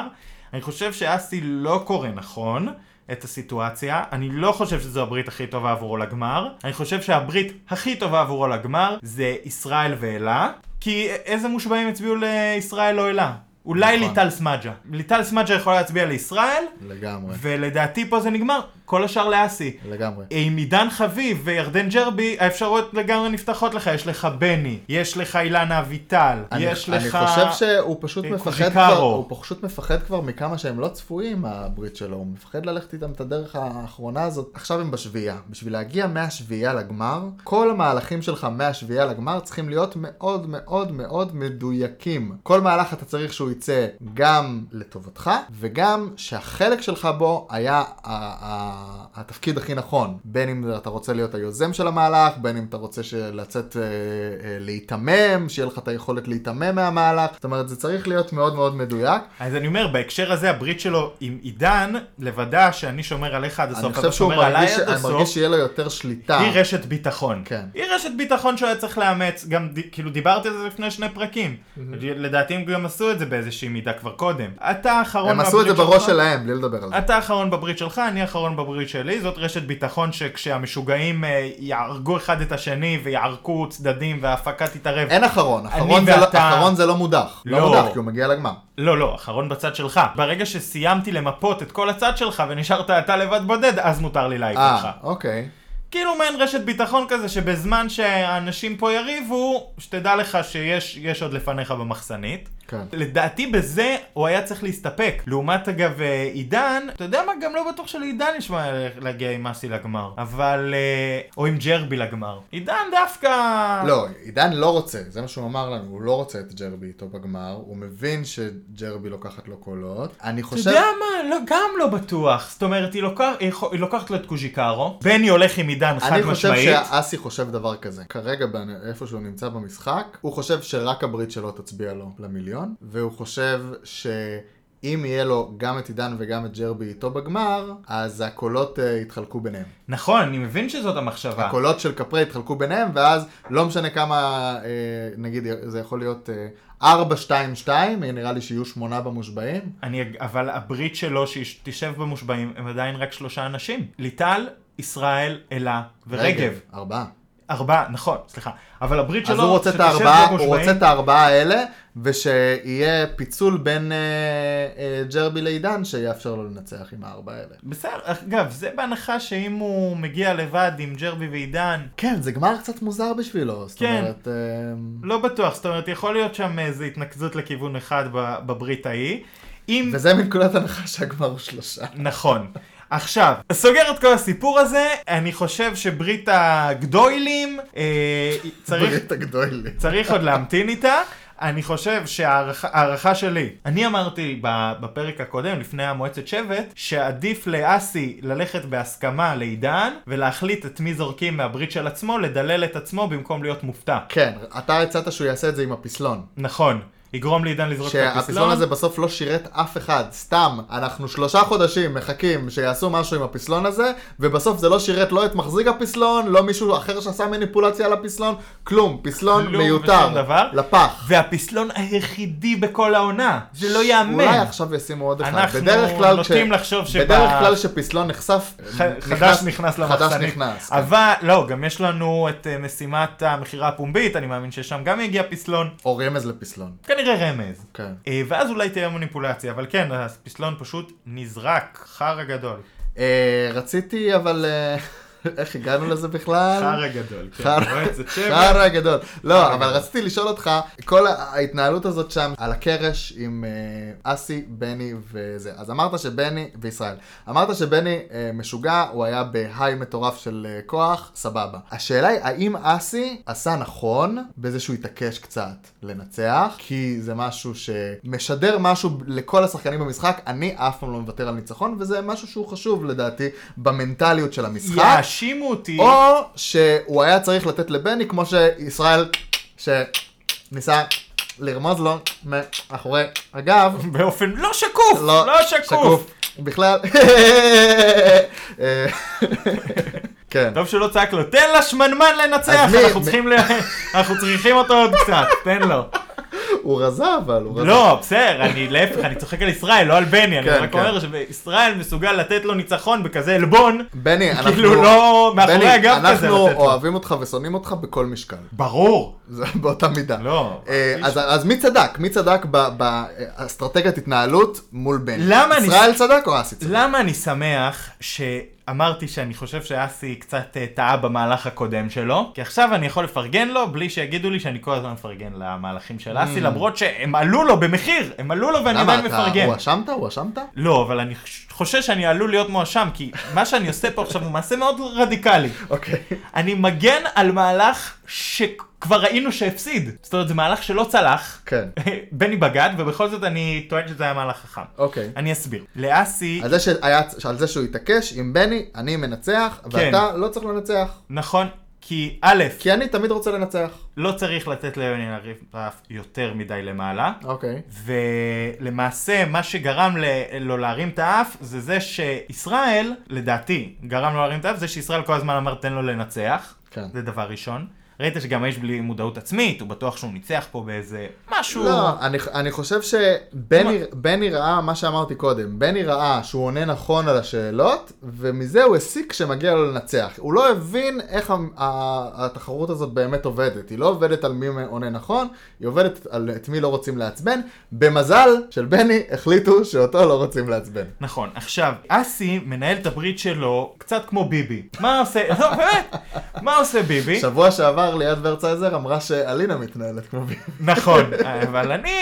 Speaker 3: אני חושב שאסי לא קורא נכון. את הסיטואציה, אני לא חושב שזו הברית הכי טובה עבורו לגמר, אני חושב שהברית הכי טובה עבורו לגמר זה ישראל ואלה, כי איזה מושבעים הצביעו לישראל או אלה? אולי
Speaker 2: נכון.
Speaker 3: ליטל סמג'ה. ליטל סמג'ה יכולה להצביע לישראל,
Speaker 2: לגמרי,
Speaker 3: ולדעתי פה זה נגמר, כל השאר לאסי.
Speaker 2: לגמרי.
Speaker 3: עם עידן חביב וירדן ג'רבי, האפשרויות לגמרי נפתחות לך. יש לך בני, יש לך אילנה אביטל,
Speaker 2: אני,
Speaker 3: יש
Speaker 2: אני
Speaker 3: לך...
Speaker 2: חושב שהוא פשוט
Speaker 3: אה,
Speaker 2: מפחד
Speaker 3: קוז'יקרו.
Speaker 2: כבר, הוא פשוט מפחד כבר מכמה שהם לא צפויים, הברית שלו, הוא מפחד ללכת איתם את הדרך האחרונה הזאת. עכשיו הם בשביעייה, בשביל להגיע מהשביעייה לגמר, כל המהלכים שלך מהשביעייה לגמר צריכים להיות מאוד מאוד מאוד מדויקים. כל מהלך אתה צריך שהוא יצא גם לטובתך, וגם שהחלק שלך בו היה ה- ה- התפקיד הכי נכון. בין אם אתה רוצה להיות היוזם של המהלך, בין אם אתה רוצה של- לצאת אה, אה, להיתמם, שיהיה לך את היכולת להיתמם מהמהלך. זאת אומרת, זה צריך להיות מאוד מאוד מדויק.
Speaker 3: אז אני אומר, בהקשר הזה, הברית שלו עם עידן, לוודא שאני שומר עליך עד
Speaker 2: אני
Speaker 3: הסוף,
Speaker 2: חושב
Speaker 3: אתה
Speaker 2: שהוא
Speaker 3: שומר עליי
Speaker 2: מרגיש,
Speaker 3: עד
Speaker 2: אני
Speaker 3: הסוף.
Speaker 2: מרגיש שיהיה לו יותר שליטה.
Speaker 3: היא רשת ביטחון.
Speaker 2: כן.
Speaker 3: היא רשת ביטחון שהוא היה צריך לאמץ, גם ד- כאילו דיברתי על זה לפני שני פרקים.
Speaker 2: Mm-hmm.
Speaker 3: לדעתי הם גם עשו את זה באיזושהי מידה כבר קודם. אתה האחרון
Speaker 2: הם עשו את זה
Speaker 3: מהברית
Speaker 2: בראש
Speaker 3: שלך.
Speaker 2: שלהם, בלי לדבר על זה.
Speaker 3: אתה האחרון בברית שלך, אני האחרון בברית שלי, זאת רשת ביטחון שכשהמשוגעים אה, יהרגו אחד את השני ויערקו צדדים וההפקה תתערב.
Speaker 2: אין אחרון,
Speaker 3: אני
Speaker 2: אחרון זה לא-
Speaker 3: ואתה-
Speaker 2: אחרון זה לא מודח. לא
Speaker 3: לא.
Speaker 2: מודח, כי הוא מגיע לגמר.
Speaker 3: לא, לא, אחרון בצד שלך. ברגע שסיימתי למפות את כל הצד שלך ונשארת אתה לבד בודד, אז מותר לי להעיף אותך.
Speaker 2: אה, אוקיי.
Speaker 3: כאילו מעין רשת ביטחון כזה, שבזמן שהאנשים פה יריבו, שתדע לך שיש יש עוד לפניך במחסנית.
Speaker 2: כן.
Speaker 3: לדעתי בזה הוא היה צריך להסתפק. לעומת אגב אה, עידן, אתה יודע מה? גם לא בטוח שלעידן יש מה להגיע עם אסי לגמר. אבל... אה, או עם ג'רבי לגמר. עידן דווקא...
Speaker 2: לא, עידן לא רוצה, זה מה שהוא אמר לנו, הוא לא רוצה את ג'רבי איתו בגמר, הוא מבין שג'רבי לוקחת לו קולות. אני
Speaker 3: אתה
Speaker 2: חושב...
Speaker 3: יודע מה? לא, גם לא בטוח. זאת אומרת, היא, לוקח, היא, חו- היא לוקחת לו את קוז'יקרו, בני הולך עם עידן חד
Speaker 2: אני חושב
Speaker 3: משמעית.
Speaker 2: שאסי חושב דבר כזה. כרגע, באנ- איפה שהוא נמצא במשחק, הוא חושב שרק הברית שלו תצביע לו למיליון, והוא חושב ש... אם יהיה לו גם את עידן וגם את ג'רבי איתו בגמר, אז הקולות אה, יתחלקו ביניהם.
Speaker 3: נכון, אני מבין שזאת המחשבה.
Speaker 2: הקולות של קפרי יתחלקו ביניהם, ואז לא משנה כמה, אה, נגיד, זה יכול להיות אה, 4, 2, 2, אה, נראה לי שיהיו שמונה במושבעים.
Speaker 3: אני, אבל הברית שלו שהיא תשב במושבעים, הם עדיין רק שלושה אנשים. ליטל, ישראל, אלה ורגב.
Speaker 2: ארבעה. ארבעה.
Speaker 3: ארבעה, נכון, סליחה. אבל הברית שלו,
Speaker 2: אז הוא רוצה את
Speaker 3: שתשב
Speaker 2: הארבעה, הוא
Speaker 3: במושבעים-
Speaker 2: רוצה את הארבעה האלה, ושיהיה פיצול בין אה, אה, ג'רבי לעידן, שיאפשר לו לנצח עם הארבע האלה.
Speaker 3: בסדר, אגב, זה בהנחה שאם הוא מגיע לבד עם ג'רבי ועידן,
Speaker 2: כן, זה גמר קצת מוזר בשבילו, זאת
Speaker 3: כן.
Speaker 2: אומרת... אה,
Speaker 3: לא בטוח, זאת אומרת, יכול להיות שם איזו התנקזות לכיוון אחד ב- בברית ההיא. אם...
Speaker 2: וזה מנקודת הנחה שהגמר הוא שלושה.
Speaker 3: נכון. עכשיו, סוגר את כל הסיפור הזה, אני חושב שברית הגדוילים, אה, צריך...
Speaker 2: ברית הגדולי.
Speaker 3: צריך עוד להמתין איתה. אני חושב שההערכה ההערכה שלי, אני אמרתי ב- בפרק הקודם, לפני המועצת שבט, שעדיף לאסי ללכת בהסכמה לעידן, ולהחליט את מי זורקים מהברית של עצמו, לדלל את עצמו במקום להיות מופתע.
Speaker 2: כן, אתה הצעת שהוא יעשה את זה עם הפסלון.
Speaker 3: נכון, יגרום לעידן לזרוק את
Speaker 2: שהפסלון
Speaker 3: הפסלון.
Speaker 2: הזה בסוף לא שירת אף אחד, סתם. אנחנו שלושה חודשים מחכים שיעשו משהו עם הפסלון הזה, ובסוף זה לא שירת לא את מחזיק הפסלון, לא מישהו אחר שעשה מניפולציה על הפסלון, כלום, פסלון
Speaker 3: כלום
Speaker 2: מיותר,
Speaker 3: ושום דבר.
Speaker 2: לפח.
Speaker 3: והפסלון היחידי בכל העונה, זה לא
Speaker 2: אולי
Speaker 3: ייאמן.
Speaker 2: עכשיו ישימו עוד אחד.
Speaker 3: אנחנו
Speaker 2: בדרך כלל
Speaker 3: נוטים לחשוב שבא-
Speaker 2: בדרך כלל כשפסלון נחשף...
Speaker 3: ח- חדש נכנס למחסנית.
Speaker 2: חדש נכנס. כן.
Speaker 3: אבל, לא, גם יש לנו את אה, משימת המכירה הפומבית, אני מאמין ששם גם יגיע פסלון.
Speaker 2: או רמז לפסלון.
Speaker 3: כנראה רמז.
Speaker 2: כן.
Speaker 3: אה, ואז אולי תהיה מניפולציה, אבל כן, הפסלון פשוט נזרק, חרא גדול.
Speaker 2: אה, רציתי, אבל... אה, איך הגענו לזה בכלל?
Speaker 3: חרא גדול, כן.
Speaker 2: חרא-
Speaker 3: מועצת שבט.
Speaker 2: חרא גדול. לא, אבל
Speaker 3: גדול.
Speaker 2: רציתי לשאול אותך, כל ההתנהלות הזאת שם על הקרש עם אה, אסי, בני וזה. אז אמרת שבני, וישראל, אמרת שבני אה, משוגע, הוא היה בהיי מטורף של אה, כוח, סבבה. השאלה היא, האם אסי עשה נכון בזה שהוא התעקש קצת לנצח? כי זה משהו שמשדר משהו לכל השחקנים במשחק, אני אף פעם לא מוותר על ניצחון, וזה משהו שהוא חשוב לדעתי במנטליות של המשחק.
Speaker 3: יאשימו אותי.
Speaker 2: או שהוא היה צריך לתת לבני, כמו שישראל, שניסה לרמוז לו מאחורי הגב.
Speaker 3: באופן לא שקוף,
Speaker 2: לא,
Speaker 3: לא שקוף.
Speaker 2: בכלל. אה, כן.
Speaker 3: טוב שלא צעק לו, תן לשמנמן לנצח,
Speaker 2: אז מי-
Speaker 3: אנחנו
Speaker 2: מי-
Speaker 3: צריכים ל- אנחנו צריכים אותו עוד קצת, תן לו.
Speaker 2: הוא רזה אבל, הוא רזה.
Speaker 3: לא, בסדר, אני להפך, אני צוחק על ישראל, לא על בני, אני
Speaker 2: כן,
Speaker 3: רק
Speaker 2: כן.
Speaker 3: אומר שישראל מסוגל לתת לו ניצחון בכזה עלבון,
Speaker 2: בני, אנחנו...
Speaker 3: כאילו לא, מאחורי
Speaker 2: בני,
Speaker 3: הגב כזה
Speaker 2: אנחנו
Speaker 3: לתת לו.
Speaker 2: אוהבים אותך ושונאים אותך בכל משקל.
Speaker 3: ברור.
Speaker 2: זה באותה מידה.
Speaker 3: לא.
Speaker 2: אה,
Speaker 3: איש-
Speaker 2: אז, אז מי צדק? מי צדק ב- באסטרטגיית התנהלות מול בני?
Speaker 3: למה אני-
Speaker 2: ישראל צדק או אסי צדק?
Speaker 3: למה אני שמח שאמרתי שאני חושב שאסי קצת אה, טעה במהלך הקודם שלו? כי עכשיו אני יכול לפרגן לו בלי שיגידו לי שאני כל הזמן מפרגן למהלכים של אסי, למרות שהם עלו לו במחיר, הם עלו לו ואני עדיין
Speaker 2: Mm. למה אתה
Speaker 3: מפרגן.
Speaker 2: הואשמת? הואשמת?
Speaker 3: לא, אבל אני חש- חושש שאני עלול להיות מואשם, כי מה שאני עושה פה עכשיו הוא מעשה מאוד רדיקלי.
Speaker 2: אוקיי.
Speaker 3: אני מגן על מהלך שכבר ראינו שהפסיד. זאת אומרת, זה מהלך שלא צלח.
Speaker 2: כן.
Speaker 3: בני בגד, ובכל זאת אני טוען שזה היה מהלך חכם.
Speaker 2: אוקיי.
Speaker 3: אני אסביר. לאסי...
Speaker 2: על זה, שהיה, על זה שהוא התעקש עם בני, אני מנצח,
Speaker 3: כן.
Speaker 2: ואתה לא צריך לנצח.
Speaker 3: נכון, כי א',
Speaker 2: כי אני תמיד רוצה לנצח.
Speaker 3: לא צריך לתת ליוני לריב רף יותר מדי למעלה,
Speaker 2: אוקיי.
Speaker 3: ולמעשה מה שגרם ל- לו להרים את האף זה זה שישראל, לדעתי, גרם לו להרים את האף זה שישראל כל הזמן אמר תן לו לנצח,
Speaker 2: כן.
Speaker 3: זה דבר ראשון. ראית שגם האיש בלי מודעות עצמית, הוא בטוח שהוא ניצח פה באיזה משהו.
Speaker 2: לא, אני, אני חושב שבני בני ראה מה שאמרתי קודם, בני ראה שהוא עונה נכון על השאלות, ומזה הוא הסיק שמגיע לו לנצח. הוא לא הבין איך ה, ה, התחרות הזאת באמת עובדת. היא לא עובדת על מי עונה נכון, היא עובדת על את מי לא רוצים לעצבן. במזל של בני החליטו שאותו לא רוצים לעצבן.
Speaker 3: נכון, עכשיו, אסי מנהל את הברית שלו קצת כמו ביבי. מה עושה, לא, באמת, מה עושה ביבי?
Speaker 2: שבוע שעבר ליעד ורצייזר אמרה שאלינה מתנהלת כמו ביבי.
Speaker 3: נכון, אבל אני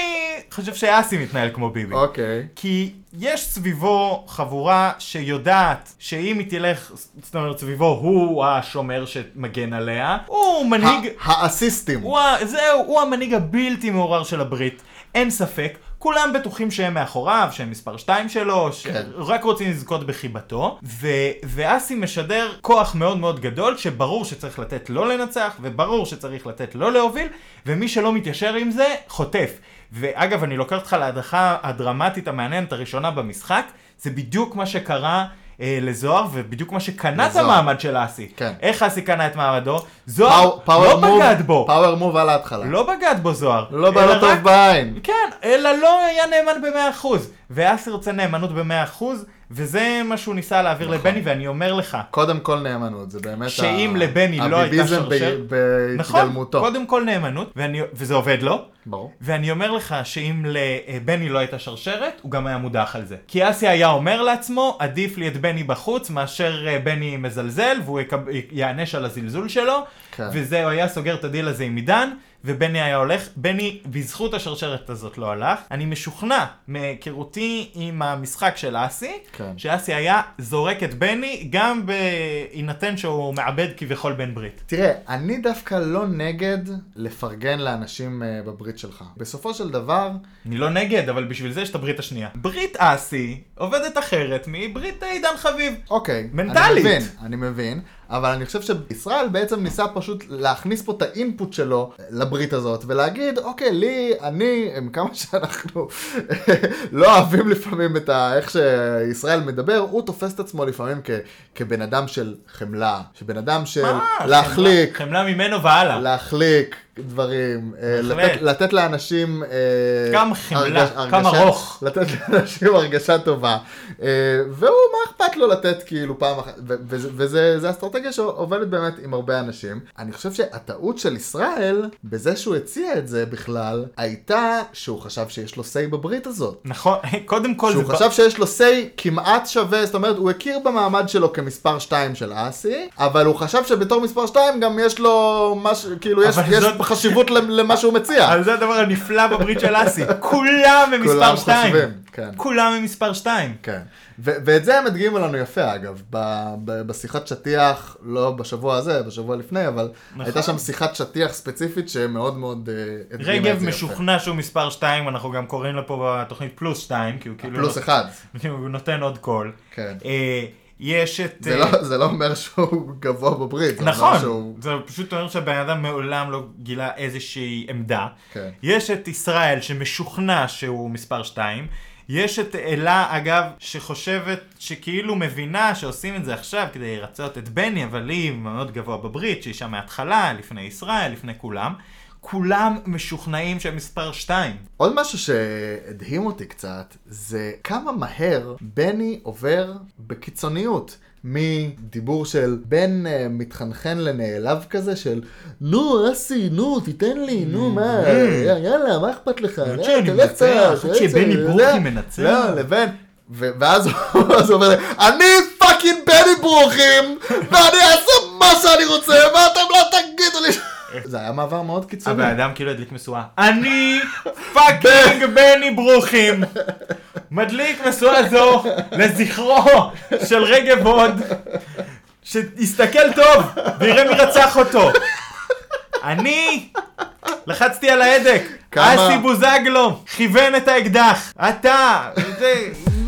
Speaker 3: חושב שאסי מתנהל כמו ביבי.
Speaker 2: אוקיי.
Speaker 3: כי יש סביבו חבורה שיודעת שאם היא תלך, זאת אומרת סביבו הוא השומר שמגן עליה, הוא מנהיג,
Speaker 2: ה- האסיסטים.
Speaker 3: הוא, ה- זהו, הוא המנהיג הבלתי מעורער של הברית, אין ספק. כולם בטוחים שהם מאחוריו, שהם מספר 2 שלו,
Speaker 2: כן.
Speaker 3: שרק רוצים לזכות בחיבתו, ו- ואסי משדר כוח מאוד מאוד גדול, שברור שצריך לתת לא לנצח, וברור שצריך לתת לא להוביל, ומי שלא מתיישר עם זה, חוטף. ואגב, אני לוקח אותך להדרכה הדרמטית המעניינת הראשונה במשחק, זה בדיוק מה שקרה אה, לזוהר, ובדיוק מה שקנה את
Speaker 2: לזוהר.
Speaker 3: המעמד של אסי.
Speaker 2: כן.
Speaker 3: איך אסי קנה את מעמדו? זוהר לא
Speaker 2: מוב-
Speaker 3: בגד בו.
Speaker 2: פאוור מוב על ההתחלה.
Speaker 3: לא בגד בו זוהר.
Speaker 2: לא בא לו
Speaker 3: אלא
Speaker 2: טוב
Speaker 3: רק-
Speaker 2: בעין.
Speaker 3: כן, אלא לא היה נאמן ב-100%. ואסי רוצה נאמנות ב-100%, וזה מה שהוא ניסה להעביר
Speaker 2: נכון.
Speaker 3: לבני, ואני אומר לך,
Speaker 2: קודם כל נאמנות, זה באמת...
Speaker 3: שאם לבני לא הייתה
Speaker 2: הביביזם
Speaker 3: שרשר-
Speaker 2: ב- בהתגלמותו.
Speaker 3: נכון, קודם כל נאמנות, ואני- וזה עובד לו.
Speaker 2: ברור.
Speaker 3: ואני אומר לך שאם לבני לא הייתה שרשרת, הוא גם היה מודח על זה. כי אסי היה אומר לעצמו, עדיף לי את בני בחוץ מאשר אה, בני מזלזל, והוא יקב... י- יענש על הזלזול שלו,
Speaker 2: כן.
Speaker 3: וזה, הוא היה סוגר את הדיל הזה עם עידן, ובני היה הולך. בני, בזכות השרשרת הזאת לא הלך. אני משוכנע מהיכרותי עם המשחק של אסי,
Speaker 2: כן.
Speaker 3: שאסי היה זורק את בני, גם בהינתן שהוא מעבד כביכול בן ברית.
Speaker 2: תראה, אני דווקא לא נגד לפרגן לאנשים אה, בברית שלך. בסופו של דבר,
Speaker 3: אני לא נגד, אבל בשביל זה יש את הברית השנייה. ברית אסי עובדת אחרת מברית אה, עידן חביב.
Speaker 2: אוקיי. אני
Speaker 3: מנטלית.
Speaker 2: מבין, אני מבין, אבל אני חושב שישראל בעצם ניסה פשוט להכניס פה את האינפוט שלו לברית הזאת, ולהגיד, אוקיי, לי, אני, עם כמה שאנחנו לא אוהבים לפעמים את ה... איך שישראל מדבר, הוא תופס את עצמו לפעמים כ... כבן אדם של חמלה, שבן אדם של
Speaker 3: מה?
Speaker 2: להחליק.
Speaker 3: אה, חמלה חמלה ממנו והלאה.
Speaker 2: להחליק דברים, אה,
Speaker 3: בהחלט.
Speaker 2: לתת, לתת לאנשים... אה,
Speaker 3: גם חמלה,
Speaker 2: הרגש-
Speaker 3: גם ארוך.
Speaker 2: לתת לאנשים הרגשה טובה. אה, והוא, מה אכפת לו לתת כאילו פעם אחת, ו- וזה- וזה זה אסטרטגיה שעובדת באמת עם הרבה אנשים. אני חושב שהטעות של ישראל, בזה שהוא הציע את זה בכלל, הייתה שהוא חשב שיש לו say בברית הזאת.
Speaker 3: נכון, קודם כל
Speaker 2: שהוא
Speaker 3: זה...
Speaker 2: חשב שיש לו say כמעט שווה, זאת אומרת, הוא הכיר במעמד שלו כמספר 2 של אסי, אבל הוא חשב שבתור מספר 2 גם יש לו משהו, כאילו, יש,
Speaker 3: אבל
Speaker 2: יש
Speaker 3: זאת-
Speaker 2: חשיבות למ- למה שהוא מציע.
Speaker 3: על זה הדבר הנפלא בברית של אסי. כולם הם מספר
Speaker 2: כולם
Speaker 3: 2.
Speaker 2: חושבים, כן.
Speaker 3: כולם הם מספר 2.
Speaker 2: כן, ו- ואת זה הם הדגימו לנו יפה אגב, ב- ב- בשיחת שטיח, לא בשבוע הזה, בשבוע לפני, אבל
Speaker 3: נכון.
Speaker 2: הייתה שם שיחת שטיח ספציפית שמאוד מאוד אה, הדגימה את זה יפה.
Speaker 3: רגב משוכנע שהוא מספר 2, אנחנו גם קוראים לו פה בתוכנית פלוס 2, כי הוא כאילו...
Speaker 2: פלוס אחד,
Speaker 3: הוא נותן עוד קול.
Speaker 2: כן.
Speaker 3: אה, יש את...
Speaker 2: זה
Speaker 3: אה,
Speaker 2: לא- זה לא אומר שהוא גבוה בברית, זה אומר שהוא...
Speaker 3: נכון, זה פשוט אומר שהבן אדם מעולם לא גילה איזושהי עמדה.
Speaker 2: כן.
Speaker 3: יש את ישראל שמשוכנע שהוא מספר 2. יש את אלה, אגב, שחושבת, שכאילו מבינה שעושים את זה עכשיו כדי לרצות את בני, אבל היא מאוד גבוה בברית, שהיא שם מההתחלה, לפני ישראל, לפני כולם. כולם משוכנעים שהם מספר 2.
Speaker 2: עוד משהו שהדהים אותי קצת, זה כמה מהר בני עובר בקיצוניות. מדיבור של בין uh, מתחנחן לנעלב כזה של נו אסי נו תיתן לי נו מה י- יאללה מה אכפת לך
Speaker 3: עד
Speaker 2: לא,
Speaker 3: Mm-hmm. שאני
Speaker 2: תלך
Speaker 3: מנצח,
Speaker 2: אתה,
Speaker 3: עד
Speaker 2: תלך,
Speaker 3: שבני
Speaker 2: לא,
Speaker 3: ברוכי מנצח.
Speaker 2: לא לבין ו- ואז הוא אז הוא אומר אני פאקינג בני ברוכים ואני אעשה מה שאני רוצה ואתם לא תגידו לי ש-" זה היה מעבר מאוד קיצוני.
Speaker 3: הבן אדם כאילו הדליק משואה. אני פאקינג בני ברוכים. מדליק משואה זו לזכרו של רגב הוד, שיסתכל טוב ויראה מי רצח אותו. אני לחצתי על ההדק,
Speaker 2: כמה-
Speaker 3: אסי בוזגלו כיוון את האקדח. אתה, זה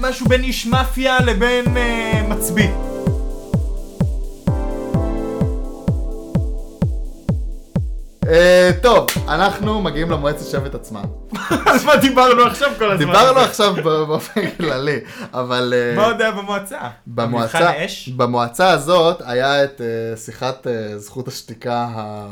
Speaker 3: משהו בין איש מאפיה לבין אה, מצביא.
Speaker 2: אה, טוב, אנחנו מגיעים למועצת שבט עצמה.
Speaker 3: אז מה דיברנו עכשיו כל הזמן?
Speaker 2: דיברנו עכשיו ב- באופן כללי, אבל אה,
Speaker 3: מה עוד היה במועצה?
Speaker 2: במועצה,
Speaker 3: מבחן האש?
Speaker 2: במועצה הזאת היה את אה, שיחת אה, זכות השתיקה ה...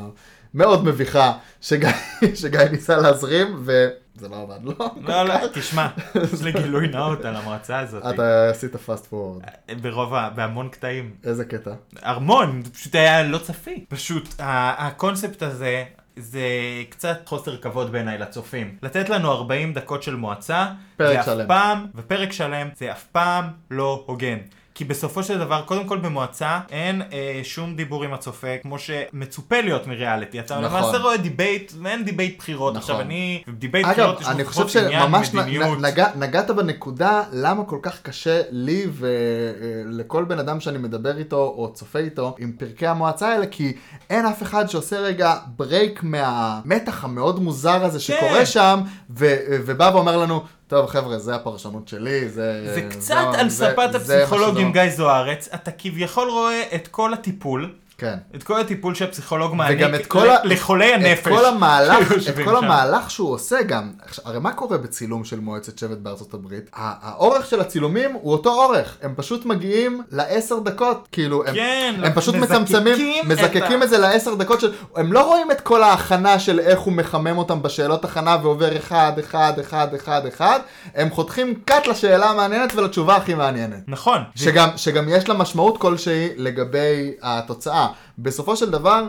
Speaker 2: מאוד מביכה שגיא שגיא ניסה להזרים, וזה לא עבד לו.
Speaker 3: לא, לא, תשמע, יש לי גילוי נאות על המועצה הזאת.
Speaker 2: אתה עשית פאסט פורוורד,
Speaker 3: ברוב, ה- בהמון קטעים.
Speaker 2: איזה קטע.
Speaker 3: ארמון, זה פשוט היה לא צפי. פשוט, ה- הקונספט הזה, זה קצת חוסר כבוד בעיניי לצופים. לתת לנו 40 דקות של מועצה,
Speaker 2: פרק
Speaker 3: זה
Speaker 2: שלם.
Speaker 3: אף פעם, ופרק שלם, זה אף פעם לא הוגן. כי בסופו של דבר, קודם כל במועצה, אין אה, שום דיבור עם הצופה, כמו שמצופה להיות מריאליטי. אתה
Speaker 2: נכון.
Speaker 3: למעשה רואה דיבייט, ואין דיבייט בחירות.
Speaker 2: נכון.
Speaker 3: עכשיו אני, דיבייט
Speaker 2: אגב,
Speaker 3: בחירות יש
Speaker 2: אני
Speaker 3: לו
Speaker 2: חושב
Speaker 3: פחות עניין,
Speaker 2: שממש נ-
Speaker 3: מדיניות.
Speaker 2: נ- נגע- נגעת בנקודה למה כל כך קשה לי ולכל בן אדם שאני מדבר איתו או צופה איתו עם פרקי המועצה האלה, כי אין אף אחד שעושה רגע ברייק מהמתח המאוד מוזר הזה שקורה
Speaker 3: כן.
Speaker 2: שם, ו- אה, ובא ואומר לנו, טוב חבר'ה, זה הפרשנות שלי, זה... אה,
Speaker 3: זה
Speaker 2: זה-
Speaker 3: קצת על
Speaker 2: זה-
Speaker 3: ספת
Speaker 2: זה
Speaker 3: הפסיכולוג
Speaker 2: מה שזה-
Speaker 3: עם גיא זוארץ, אתה כביכול רואה את כל הטיפול,
Speaker 2: כן.
Speaker 3: את כל הטיפול שהפסיכולוג מעניק
Speaker 2: וגם את כל ה-
Speaker 3: ל- לחולי הנפש.
Speaker 2: את כל המהלך, את
Speaker 3: שיושבים
Speaker 2: כל
Speaker 3: שם.
Speaker 2: המהלך שהוא עושה גם, עכשיו, הרי מה קורה בצילום של מועצת שבט בארצות הברית? ה- האורך של הצילומים הוא אותו אורך, הם פשוט מגיעים לעשר דקות, כאילו, הם,
Speaker 3: כן,
Speaker 2: הם פשוט
Speaker 3: מזקקים
Speaker 2: מצמצמים,
Speaker 3: את
Speaker 2: מזקקים
Speaker 3: ה-
Speaker 2: את זה לעשר דקות, של, הם לא רואים את כל ההכנה של איך הוא מחמם אותם בשאלות הכנה ועובר אחד, אחד, אחד, אחד, אחד, הם חותכים קאט לשאלה המעניינת ולתשובה הכי מעניינת.
Speaker 3: נכון.
Speaker 2: שגם, שגם יש לה משמעות כלשהי לגבי התוצאה. בסופו של דבר,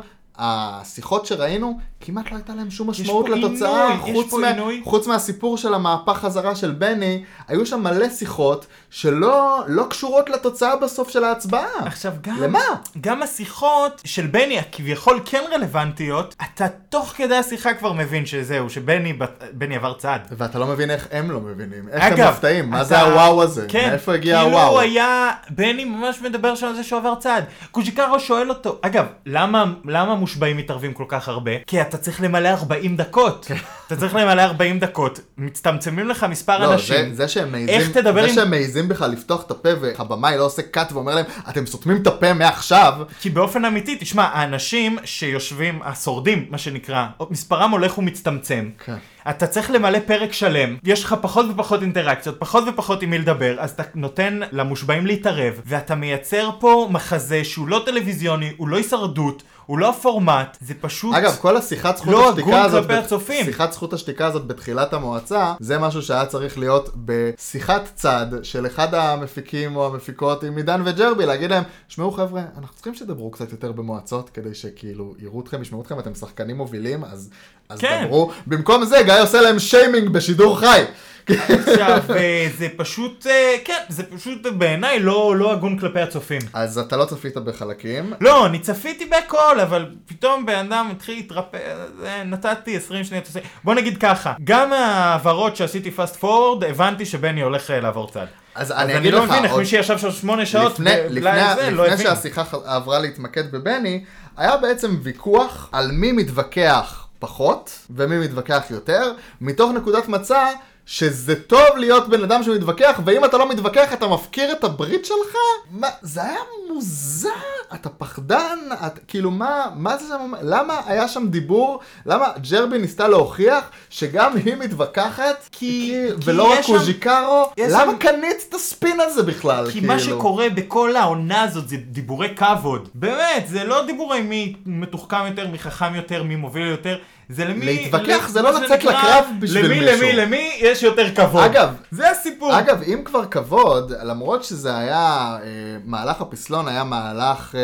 Speaker 2: השיחות שראינו, כמעט לא הייתה להם שום משמעות
Speaker 3: פה
Speaker 2: לתוצאה,
Speaker 3: עינוי, יש
Speaker 2: חוץ,
Speaker 3: פה עינוי.
Speaker 2: חוץ מהסיפור של המהפך חזרה של בני, היו שם מלא שיחות שלא לא קשורות לתוצאה בסוף של ההצבעה.
Speaker 3: עכשיו גם,
Speaker 2: למה?
Speaker 3: גם השיחות של בני הכביכול כן רלוונטיות, אתה תוך כדי השיחה כבר מבין שזהו, שבני בת- בני עבר צעד.
Speaker 2: ואתה לא מבין איך הם לא מבינים, איך
Speaker 3: אגב,
Speaker 2: הם מופתעים, מה
Speaker 3: אתה-
Speaker 2: זה הוואו הזה,
Speaker 3: כן,
Speaker 2: מאיפה הגיע
Speaker 3: כאילו
Speaker 2: הוואו.
Speaker 3: הוא היה, בני ממש מדבר שם על זה שהוא עבר צעד. קוז'יקרו שואל אותו, אגב, למה, למה מושבעים מתערבים כל כך הרבה? כי אתה צריך למלא 40 דקות.
Speaker 2: כן.
Speaker 3: אתה צריך למלא 40 דקות, מצטמצמים לך מספר
Speaker 2: לא, זה,
Speaker 3: אנשים.
Speaker 2: זה שהם מעיזים,
Speaker 3: איך תדבר
Speaker 2: זה
Speaker 3: עם-
Speaker 2: שהם מעיזים בכלל לפתוח את הפה והבמאי לא עושה קאט ואומר להם, אתם סותמים את הפה מעכשיו,
Speaker 3: כי באופן אמיתי, תשמע, האנשים שיושבים, השורדים, מה שנקרא, מספרם הולך ומצטמצם.
Speaker 2: כן.
Speaker 3: אתה צריך למלא פרק שלם, יש לך פחות ופחות אינטראקציות, פחות ופחות עם מי לדבר, אז אתה נותן למושבעים להתערב, ואתה מייצר פה מחזה שהוא לא טלוויזיוני, הוא לא הישרדות, הוא לא הפורמט, זה פשוט...
Speaker 2: אגב, כל השיחת זכות
Speaker 3: לא
Speaker 2: השתיקה
Speaker 3: הגון
Speaker 2: הזאת,
Speaker 3: כלפי
Speaker 2: בת-
Speaker 3: הצופים.
Speaker 2: שיחת זכות השתיקה הזאת בתחילת המועצה, זה משהו שהיה צריך להיות בשיחת צד של אחד המפיקים או המפיקות עם עידן וג'רבי, להגיד להם, שמעו חבר'ה, אנחנו צריכים שתדברו קצת יותר במועצות, כדי שכאילו יראו אתכם, ישמעו אתכם, אתם שחקנים מובילים, אז, אז
Speaker 3: כן.
Speaker 2: דברו. במקום זה, גיא עושה להם שיימינג בשידור חי.
Speaker 3: עכשיו, אה, זה פשוט, אה, כן, זה פשוט בעיניי לא לא הגון כלפי הצופים.
Speaker 2: אז אתה לא צפית בחלקים.
Speaker 3: לא, אני צפיתי בהכל, אבל פתאום בן אדם התחיל להתרפא, אה, נתתי 20 שניות. עשרים- בוא נגיד ככה, גם ההעברות שעשיתי פאסט פורוורד, הבנתי שבני הולך אה, לעבור צד.
Speaker 2: אז
Speaker 3: אז
Speaker 2: אני
Speaker 3: אני
Speaker 2: אגיד
Speaker 3: לא
Speaker 2: לך,
Speaker 3: מבין איך
Speaker 2: עוד-
Speaker 3: מי שישב שם שמונה שעות,
Speaker 2: לפני,
Speaker 3: ב-
Speaker 2: לפני,
Speaker 3: בלילה זה, לא
Speaker 2: לפני
Speaker 3: הבין.
Speaker 2: שהשיחה ח- עברה להתמקד בבני, היה בעצם ויכוח על מי מתווכח פחות ומי מתווכח יותר, מתוך נקודת מצע שזה טוב להיות בן אדם שמתווכח, ואם אתה לא מתווכח אתה מפקיר את הברית שלך? מה, זה היה מוזר, אתה פחדן, את, כאילו מה, מה זה שם, למה היה שם דיבור, למה ג'רבי ניסתה להוכיח שגם היא מתווכחת,
Speaker 3: כי- כי
Speaker 2: ולא רק
Speaker 3: יש שם-
Speaker 2: קוז'יקרו,
Speaker 3: יש
Speaker 2: למה
Speaker 3: שם-
Speaker 2: קנית את הספין הזה בכלל,
Speaker 3: כי
Speaker 2: כאילו?
Speaker 3: מה שקורה בכל העונה הזאת זה דיבורי כבוד. באמת, זה לא דיבורי מי מתוחכם יותר, מי חכם יותר, מי מוביל יותר. זה למי...
Speaker 2: להתווכח
Speaker 3: ל-
Speaker 2: זה לא
Speaker 3: מה
Speaker 2: לצאת
Speaker 3: שנקרא,
Speaker 2: לקרב בשביל
Speaker 3: למי,
Speaker 2: מישהו.
Speaker 3: למי, למי, יש יותר כבוד.
Speaker 2: אגב,
Speaker 3: זה הסיפור.
Speaker 2: אגב, אם כבר כבוד, למרות שזה היה, אה, מהלך הפסלון היה מהלך אה,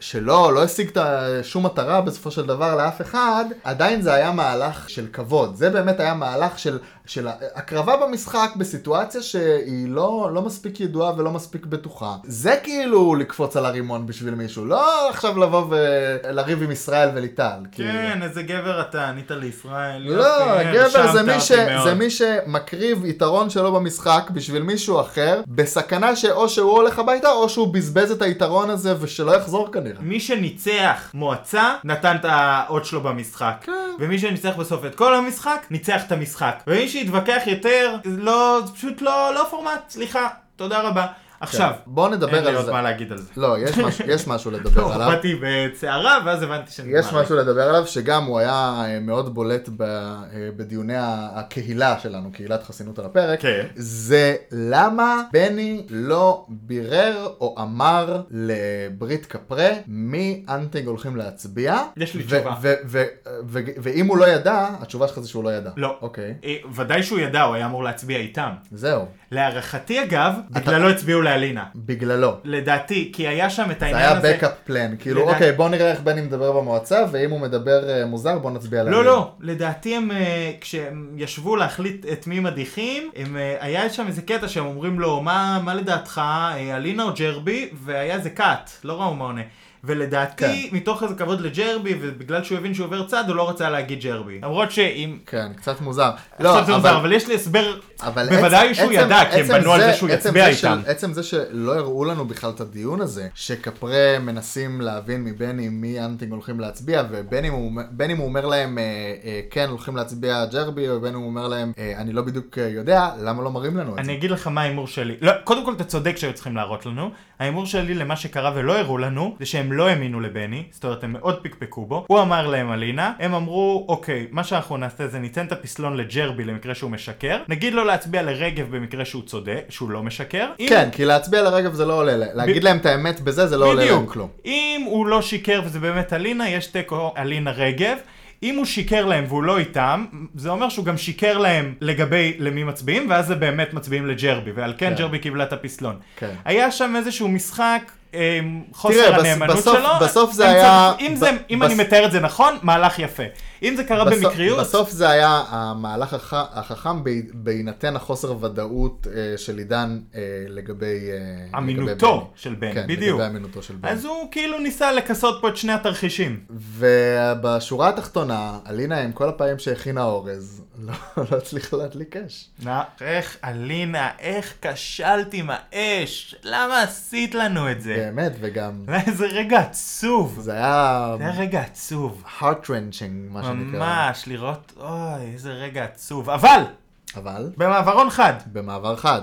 Speaker 2: שלא, לא השיג את ה- שום מטרה בסופו של דבר לאף אחד, עדיין זה היה מהלך של כבוד. זה באמת היה מהלך של, של ה- הקרבה במשחק בסיטואציה שהיא לא, לא מספיק ידועה ולא מספיק בטוחה. זה כאילו לקפוץ על הרימון בשביל מישהו, לא עכשיו לבוא ולריב עם ישראל וליטל. כאילו.
Speaker 3: כן, איזה גבר אתה, ענית לישראל.
Speaker 2: לא,
Speaker 3: יופי,
Speaker 2: גבר זה
Speaker 3: הרשמת
Speaker 2: מי,
Speaker 3: אותי
Speaker 2: ש...
Speaker 3: כן, מאוד.
Speaker 2: זה מי שמקריב יתרון שלו במשחק בשביל מישהו אחר, בסכנה שאו שהוא הולך הביתה או שהוא בזבז את היתרון הזה ושלא יחזור כנראה.
Speaker 3: מי שניצח מועצה, נתן את האות שלו במשחק.
Speaker 2: כן.
Speaker 3: ומי שניצח בסוף את כל המשחק, ניצח את המשחק. ומי שהתווכח יותר, לא, זה פשוט לא, לא פורמט, סליחה, תודה רבה. עכשיו,
Speaker 2: בואו
Speaker 3: אין
Speaker 2: כן. נדבר
Speaker 3: לי
Speaker 2: על
Speaker 3: עוד
Speaker 2: זה.
Speaker 3: מה לא, להגיד על זה.
Speaker 2: לא, יש משהו- יש משהו לדבר עליו.
Speaker 3: באתי בצערה, ואז הבנתי שאני...
Speaker 2: יש
Speaker 3: מעריך.
Speaker 2: משהו לדבר עליו שגם הוא היה אה, מאוד בולט ב, אה, בדיוני ה- הקהילה שלנו, קהילת חסינות על הפרק,
Speaker 3: כן.
Speaker 2: זה למה בני לא בירר או אמר לברית קפרה מי אנטינג הולכים להצביע.
Speaker 3: יש לי
Speaker 2: ו-
Speaker 3: תשובה.
Speaker 2: ו- ו- ו- ו- ואם הוא לא ידע, התשובה שלך זה שהוא לא ידע.
Speaker 3: לא.
Speaker 2: אוקיי,
Speaker 3: אה, ודאי שהוא ידע, הוא היה אמור להצביע איתם.
Speaker 2: זהו,
Speaker 3: להערכתי אגב, בגללו הצביעו לאלינה.
Speaker 2: בגללו.
Speaker 3: לדעתי, כי היה שם את
Speaker 2: זה
Speaker 3: העניין
Speaker 2: היה
Speaker 3: הזה...
Speaker 2: backup plan, כאילו
Speaker 3: לדעתי-
Speaker 2: אוקיי בוא נראה איך בני מדבר במועצה ואם הוא מדבר אה, מוזר בוא נצביע עליו.
Speaker 3: לא, לא, לדעתי הם, אה, כשהם ישבו להחליט את מי מדיחים, הם, אה, היה שם איזה קטע שהם אומרים לו, מה, מה לדעתך, אה, אלינה או ג'רבי, והיה איזה קאט, לא ראו מה עונה. ולדעתי, מתוך איזה כבוד לג'רבי, ובגלל שהוא הבין שהוא עובר צד, הוא לא רצה להגיד ג'רבי. למרות שאם...
Speaker 2: כן, קצת מוזר.
Speaker 3: עכשיו זה מוזר, אבל יש לי הסבר,
Speaker 2: אבל
Speaker 3: בוודאי
Speaker 2: עצ-
Speaker 3: שהוא
Speaker 2: עצם-
Speaker 3: ידע, כי הם
Speaker 2: עצם
Speaker 3: בנו על
Speaker 2: זה-
Speaker 3: זה שהוא
Speaker 2: עצם
Speaker 3: יצביע
Speaker 2: זה של-
Speaker 3: איתם.
Speaker 2: עצם זה שלא הראו לנו בכלל את הדיון הזה, שכפרה מנסים להבין מבני מי אנטינג הולכים להצביע, ובין אם הוא, בין אם הוא אומר להם אה, אה, כן הולכים להצביע ג'רבי, או בין אם הוא אומר להם אה, אני לא בדיוק אה, יודע, למה לא מראים לנו את זה?
Speaker 3: אני אגיד לך מה ההימור שלי. לא, קודם כל אתה צודק שהיו צריכים להראות לנו. ההימור שלי למה שקרה ולא הראו לנו, זה שהם לא האמינו לבני, זאת אומרת הם מאוד פקפקו בו. הוא אמר להם אלינה, הם אמרו, אוקיי, מה שאנחנו נעשה זה ניתן את הפסלון לג'רבי למקרה שהוא משקר, נגיד לו להצביע לרגב במקרה שהוא צודק, שהוא לא משקר. אם-
Speaker 2: כן, כי להצביע לרגב זה לא עולה, לה- להגיד להם את האמת בזה זה לא עולה להם
Speaker 3: בדיוק.
Speaker 2: כלום.
Speaker 3: אם הוא לא שיקר וזה באמת אלינה, יש תיקו אלינה רגב. אם הוא שיקר להם והוא לא איתם, זה אומר שהוא גם שיקר להם לגבי למי מצביעים, ואז זה באמת מצביעים לג'רבי, ועל כן
Speaker 2: כן.
Speaker 3: ג'רבי קיבלה את הפסלון.
Speaker 2: כן.
Speaker 3: היה שם איזשהו משחק, אה,
Speaker 2: תראה,
Speaker 3: חוסר
Speaker 2: בס-
Speaker 3: הנאמנות
Speaker 2: בסוף-
Speaker 3: שלו.
Speaker 2: בסוף זה
Speaker 3: הם
Speaker 2: היה-
Speaker 3: צריך- אם
Speaker 2: ב-
Speaker 3: זה- אם
Speaker 2: בס-
Speaker 3: אני מתאר את זה נכון, מהלך יפה. אם זה קרה
Speaker 2: בסוף-
Speaker 3: במקריות,
Speaker 2: בסוף זה היה המהלך הח- החכם ב- בהינתן החוסר ודאות אה, של עידן אה, לגבי... אה,
Speaker 3: אמינותו
Speaker 2: לגבי בני.
Speaker 3: של בן,
Speaker 2: כן,
Speaker 3: בדיוק.
Speaker 2: לגבי אמינותו של בן.
Speaker 3: אז הוא כאילו ניסה לכסות פה את שני התרחישים.
Speaker 2: ובשורה התחתונה, אלינה עם כל הפעמים שהכינה אורז, לא, לא הצליחה להדליק אש.
Speaker 3: נא, איך אלינה, איך כשלתי עם האש? למה עשית לנו את זה?
Speaker 2: באמת, וגם
Speaker 3: זה היה איזה רגע עצוב.
Speaker 2: זה היה
Speaker 3: זה היה רגע עצוב.
Speaker 2: heart wrenching, מה שנקרא.
Speaker 3: ממש, לראות, אוי, איזה רגע עצוב. אבל,
Speaker 2: אבל,
Speaker 3: במעברון חד.
Speaker 2: במעבר חד.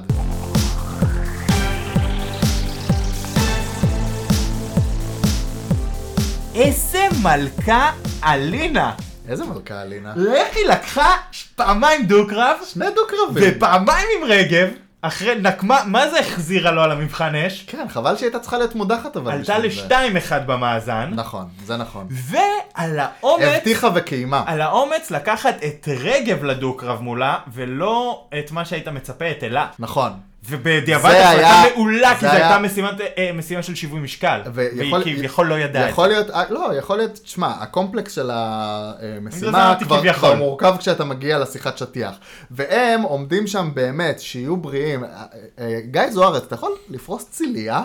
Speaker 3: איזה מלכה אלינה.
Speaker 2: איזה מלכה אלינה.
Speaker 3: לכי לקחה פעמיים דו-קרב,
Speaker 2: שני דו-קרבים.
Speaker 3: ופעמיים עם רגב, אחרי נקמה, מה זה החזירה לו על המבחן אש?
Speaker 2: כן, חבל שהיא הייתה צריכה להיות מודחת אבל
Speaker 3: עלתה
Speaker 2: בשביל זה.
Speaker 3: לשתיים אחד במאזן,
Speaker 2: נכון, זה נכון.
Speaker 3: ועל האומץ,
Speaker 2: הבטיחה וקיימה.
Speaker 3: על האומץ לקחת את רגב לדו-קרב מולה, ולא את מה שהיית מצפה, את אלה.
Speaker 2: נכון.
Speaker 3: ובדיעבד
Speaker 2: זה
Speaker 3: החלטה
Speaker 2: היה-
Speaker 3: מעולה, כי
Speaker 2: זה
Speaker 3: זו
Speaker 2: היה-
Speaker 3: הייתה משימת, אה, משימה של שיווי משקל. והיא
Speaker 2: ויכול-
Speaker 3: כביכול לא ידעה את זה.
Speaker 2: יכול להיות, אה, לא, יכול להיות, תשמע, הקומפלקס של
Speaker 3: בגלל זה
Speaker 2: המשימה
Speaker 3: אמרתי
Speaker 2: כבר,
Speaker 3: לא כביכול.
Speaker 2: כבר מורכב כשאתה מגיע לשיחת שטיח. והם עומדים שם באמת, שיהיו בריאים. אה, אה, גיא זוארץ, אתה יכול לפרוס צילייה?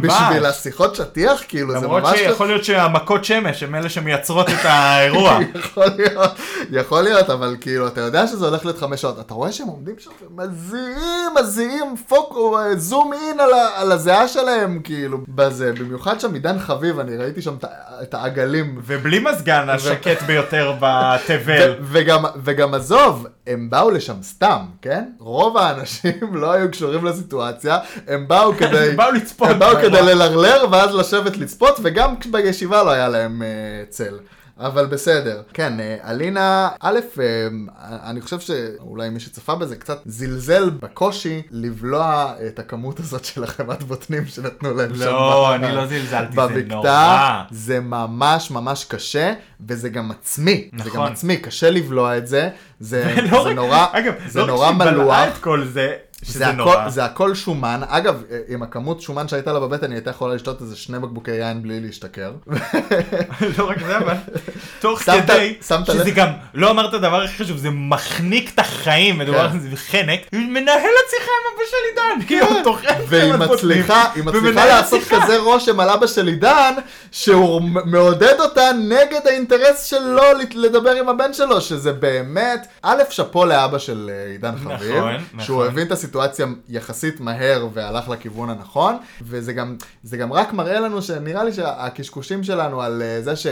Speaker 2: בשביל השיחות שטיח? כאילו, זה
Speaker 3: למרות
Speaker 2: ממש...
Speaker 3: שיכול להיות שהמכות שמש הם אלה שמייצרות את האירוע.
Speaker 2: יכול להיות, יכול להיות, אבל כאילו, אתה יודע שזה הולך להיות חמש שעות. אתה רואה שהם עומדים שם ומזיעים, מזיעים, פוק, אה, זום אין על, ה- על הזיעה שלהם, כאילו, בזה. במיוחד שם עידן חביב, אני ראיתי שם את ה- את העגלים.
Speaker 3: ובלי מזגן השקט ביותר בתבל.
Speaker 2: ו- וגם, וגם עזוב, הם באו לשם סתם, כן? רוב האנשים לא היו קשורים לסיטואציה, הם באו כדי...
Speaker 3: הם באו לצפות
Speaker 2: הם באו
Speaker 3: באירוע.
Speaker 2: כדי ללרלר ואז לשבת לצפות, וגם כש- בישיבה לא היה להם אה, צל. אבל בסדר. כן, אה, אלינה, א', אה, אני חושב שאולי מי שצפה בזה קצת זלזל בקושי לבלוע את הכמות הזאת של החמת בוטנים שנתנו להם שם.
Speaker 3: לא,
Speaker 2: ב-
Speaker 3: אני לא זלזלתי, זה
Speaker 2: בבקתה,
Speaker 3: נורא.
Speaker 2: זה ממש ממש קשה, וזה גם עצמי. זה גם
Speaker 3: נכון.
Speaker 2: עצמי, קשה לבלוע את זה. זה,
Speaker 3: ולא
Speaker 2: זה
Speaker 3: רק-
Speaker 2: נורא,
Speaker 3: אגב,
Speaker 2: זה
Speaker 3: לא רק
Speaker 2: נורא
Speaker 3: שהיא בלעה
Speaker 2: מלוח.
Speaker 3: את כל זה,
Speaker 2: זה
Speaker 3: שזה
Speaker 2: הכל,
Speaker 3: נורא.
Speaker 2: זה הכל שומן, אגב, עם הכמות שומן שהייתה לה בבטן, היא הייתה יכולה לשתות איזה שני בקבוקי יין בלי להשתכר.
Speaker 3: לא רק זה, אבל תוך
Speaker 2: שמת-
Speaker 3: כדי,
Speaker 2: שמת
Speaker 3: שזה
Speaker 2: לב?
Speaker 3: גם, לא אמרת דבר הכי חשוב, זה מחניק את החיים, מדובר
Speaker 2: כן.
Speaker 3: על זה בחנק, מנהל השיחה עם אבא של עידן, כאילו, כי הוא טוחן
Speaker 2: כן. והיא
Speaker 3: חמת בוטנים,
Speaker 2: מצליחה, היא מצליחה
Speaker 3: ומנהל
Speaker 2: לעשות
Speaker 3: השיחה.
Speaker 2: כזה רושם על אבא של עידן, שהוא מ- מעודד אותה נגד האינטרס שלו לת- לדבר עם הבן שלו, שזה באמת, א', שאפו לאבא של אה, עידן חביב,
Speaker 3: נכון,
Speaker 2: שהוא
Speaker 3: נכון.
Speaker 2: הבין את סיטואציה יחסית מהר והלך לכיוון הנכון, וזה גם, זה גם רק מראה לנו שנראה לי שהקשקושים שלנו על אה, זה ש...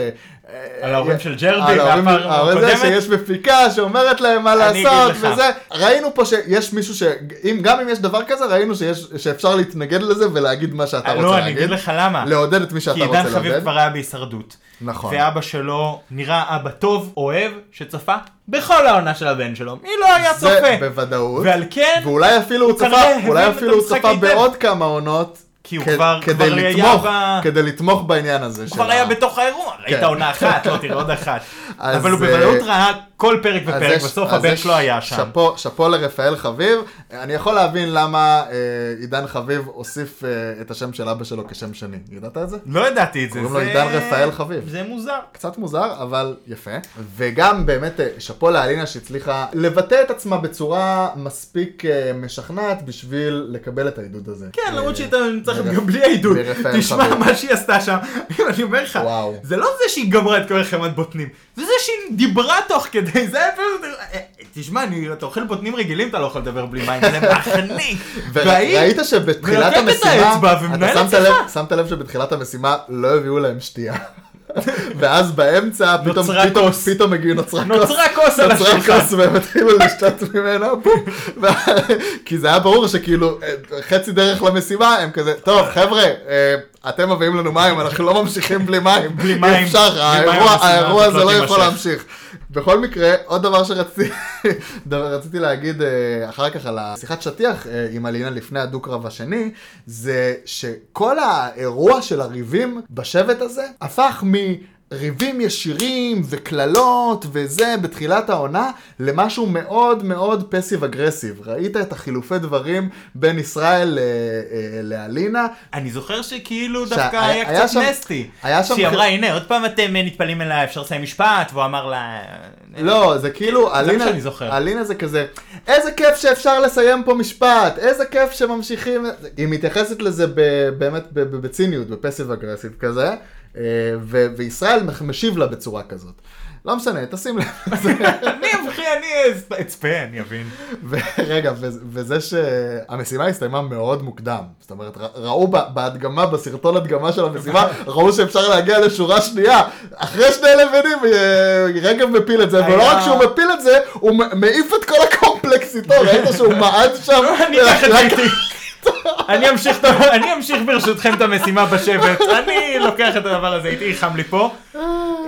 Speaker 3: על ההורים של ג'רבי
Speaker 2: על ההורים-
Speaker 3: והפעם
Speaker 2: ההורים זה
Speaker 3: הקודמת.
Speaker 2: שיש בפיקה שאומרת להם מה
Speaker 3: אני אגיד
Speaker 2: לעשות
Speaker 3: לך.
Speaker 2: וזה. ראינו פה שיש מישהו ש... אם, גם אם יש דבר כזה, ראינו שיש, שאפשר להתנגד לזה ולהגיד מה שאתה רוצה
Speaker 3: לא, אני
Speaker 2: להגיד.
Speaker 3: אגיד לך למה.
Speaker 2: לעודד את מי שאתה
Speaker 3: כי
Speaker 2: רוצה
Speaker 3: עידן
Speaker 2: לעודד.
Speaker 3: חביב כבר היה בהישרדות.
Speaker 2: נכון.
Speaker 3: ואבא שלו נראה אבא טוב, אוהב, שצפה בכל העונה של הבן שלו. מי לא היה
Speaker 2: זה
Speaker 3: צופה.
Speaker 2: בוודאות.
Speaker 3: ועל כן,
Speaker 2: ואולי אפילו הוא צפה,
Speaker 3: כנראה הבין
Speaker 2: אולי
Speaker 3: את
Speaker 2: אפילו הוא
Speaker 3: המשחק
Speaker 2: צפה
Speaker 3: לא- היטב.
Speaker 2: בעוד כמה עונות.
Speaker 3: כי הוא
Speaker 2: כ-
Speaker 3: כבר-
Speaker 2: כדי
Speaker 3: כבר היה
Speaker 2: לתמוך,
Speaker 3: ב-
Speaker 2: כדי כן. לתמוך בעניין הזה.
Speaker 3: הוא כבר היה בתוך האירוע. ראית עונה אחת, לא תראה עוד אחת.
Speaker 2: אז,
Speaker 3: אבל הוא
Speaker 2: אה,
Speaker 3: בוודאות ראה כל פרק
Speaker 2: אז
Speaker 3: ופרק,
Speaker 2: יש-
Speaker 3: בסוף
Speaker 2: אז
Speaker 3: הבן
Speaker 2: יש
Speaker 3: שלו היה שם.
Speaker 2: שאפו- שאפו לרפאל חביב. אני יכול להבין למה אה, עידן חביב הוסיף אה, את השם של אבא שלו כשם שני. ידעת את זה?
Speaker 3: לא ידעתי את זה.
Speaker 2: קוראים לו
Speaker 3: זה-
Speaker 2: עידן רפאל חביב.
Speaker 3: זה מוזר.
Speaker 2: קצת מוזר, אבל יפה. וגם באמת אה, שאפו לאלינה שהצליחה לבטא את עצמה בצורה מספיק אה, משכנעת בשביל לקבל את העידוד הזה.
Speaker 3: כן, למרות
Speaker 2: אה,
Speaker 3: שהיא הייתה נצטרכת
Speaker 2: מרפ-
Speaker 3: גם בלי העידוד.
Speaker 2: מרפאל
Speaker 3: תשמע
Speaker 2: חביב.
Speaker 3: מה שהיא עשתה שם. אני אומר לך,
Speaker 2: וואו.
Speaker 3: זה לא זה שהיא גמרה את כל החמת בוטנים, זה זה שהיא דיברה תוך כדי, זה היה פשוט... אה, תשמע, אני- אתה אוכל בוטנים רגילים, אתה לא יכול לדבר בלי מים, זה מחניק. והיא-
Speaker 2: וראית שבתחילת
Speaker 3: מלקק את
Speaker 2: המשימה,
Speaker 3: האצבע
Speaker 2: אתה
Speaker 3: ומנהלת
Speaker 2: שמת
Speaker 3: שיחה.
Speaker 2: לב- שמת לב שבתחילת המשימה לא הביאו להם שתייה. ואז באמצע פתאום,
Speaker 3: נוצרה
Speaker 2: פתאום,
Speaker 3: כוס.
Speaker 2: פתאום הגיעו נוצרה כוס.
Speaker 3: נוצרה כוס על
Speaker 2: נוצרה
Speaker 3: השולחן.
Speaker 2: כוס והם התחילו לשתות ממנה, בום. ו- כי זה היה ברור שכאילו אה, חצי דרך למשימה הם כזה, טוב חבר'ה, אה, אתם מביאים לנו מים, אנחנו לא ממשיכים בלי מים.
Speaker 3: בלי
Speaker 2: אי
Speaker 3: מים.
Speaker 2: אפשר,
Speaker 3: בלי
Speaker 2: האירוע-
Speaker 3: מים
Speaker 2: האירוע
Speaker 3: המשימה
Speaker 2: הזה לא
Speaker 3: הזאת לא
Speaker 2: יכול
Speaker 3: תימשך.
Speaker 2: להמשיך. בכל מקרה, עוד דבר שרציתי דבר, רציתי להגיד אה, אחר כך על השיחת שטיח אה, עם אלינה לפני הדו-קרב השני, זה שכל האירוע של הריבים בשבט הזה הפך מ... ריבים ישירים וקללות וזה בתחילת העונה למשהו מאוד מאוד פסיב אגרסיב. ראית את החילופי דברים בין ישראל אה, אה, לאלינה?
Speaker 3: אני זוכר שכאילו
Speaker 2: שה-
Speaker 3: דווקא
Speaker 2: היה-
Speaker 3: היה
Speaker 2: היה
Speaker 3: קצת
Speaker 2: שם-
Speaker 3: נסטי.
Speaker 2: היה שם
Speaker 3: שהיא
Speaker 2: חי-
Speaker 3: אמרה, הנה, עוד פעם אתם אה, נטפלים אליי, אפשר לסיים משפט, והוא אמר לה... "אה,
Speaker 2: לא, זה כאילו,
Speaker 3: זה מה
Speaker 2: אלינה,
Speaker 3: שאני זוכר.
Speaker 2: אלינה זה כזה, איזה כיף שאפשר לסיים פה משפט, איזה כיף שממשיכים, היא מתייחסת לזה ב, באמת ב- ב- בציניות, בפסיב אגרסיב כזה, אה, ו, וישראל מח- משיב לה בצורה כזאת. לא משנה, תשים לב לזה.
Speaker 3: אני אבחי, אני אס- אצפה, אני אבין.
Speaker 2: ורגע, ו- וזה שהמשימה הסתיימה מאוד מוקדם. זאת אומרת, ר- ראו ב- בהדגמה, בסרטון הדגמה של המשימה, ראו שאפשר להגיע לשורה שנייה. אחרי שני לבנים, אה, רגב מפיל את זה, ולא
Speaker 3: היה-
Speaker 2: רק שהוא מפיל את זה, הוא מ- מעיף את כל הקומפלקס איתו, ראית שהוא מעד שם?
Speaker 3: לא, אני אקח את זה איתי. אני אמשיך, את ה- אני אמשיך ברשותכם את המשימה בשבט, אני לוקח את הדבר הזה איתי, חם לי פה.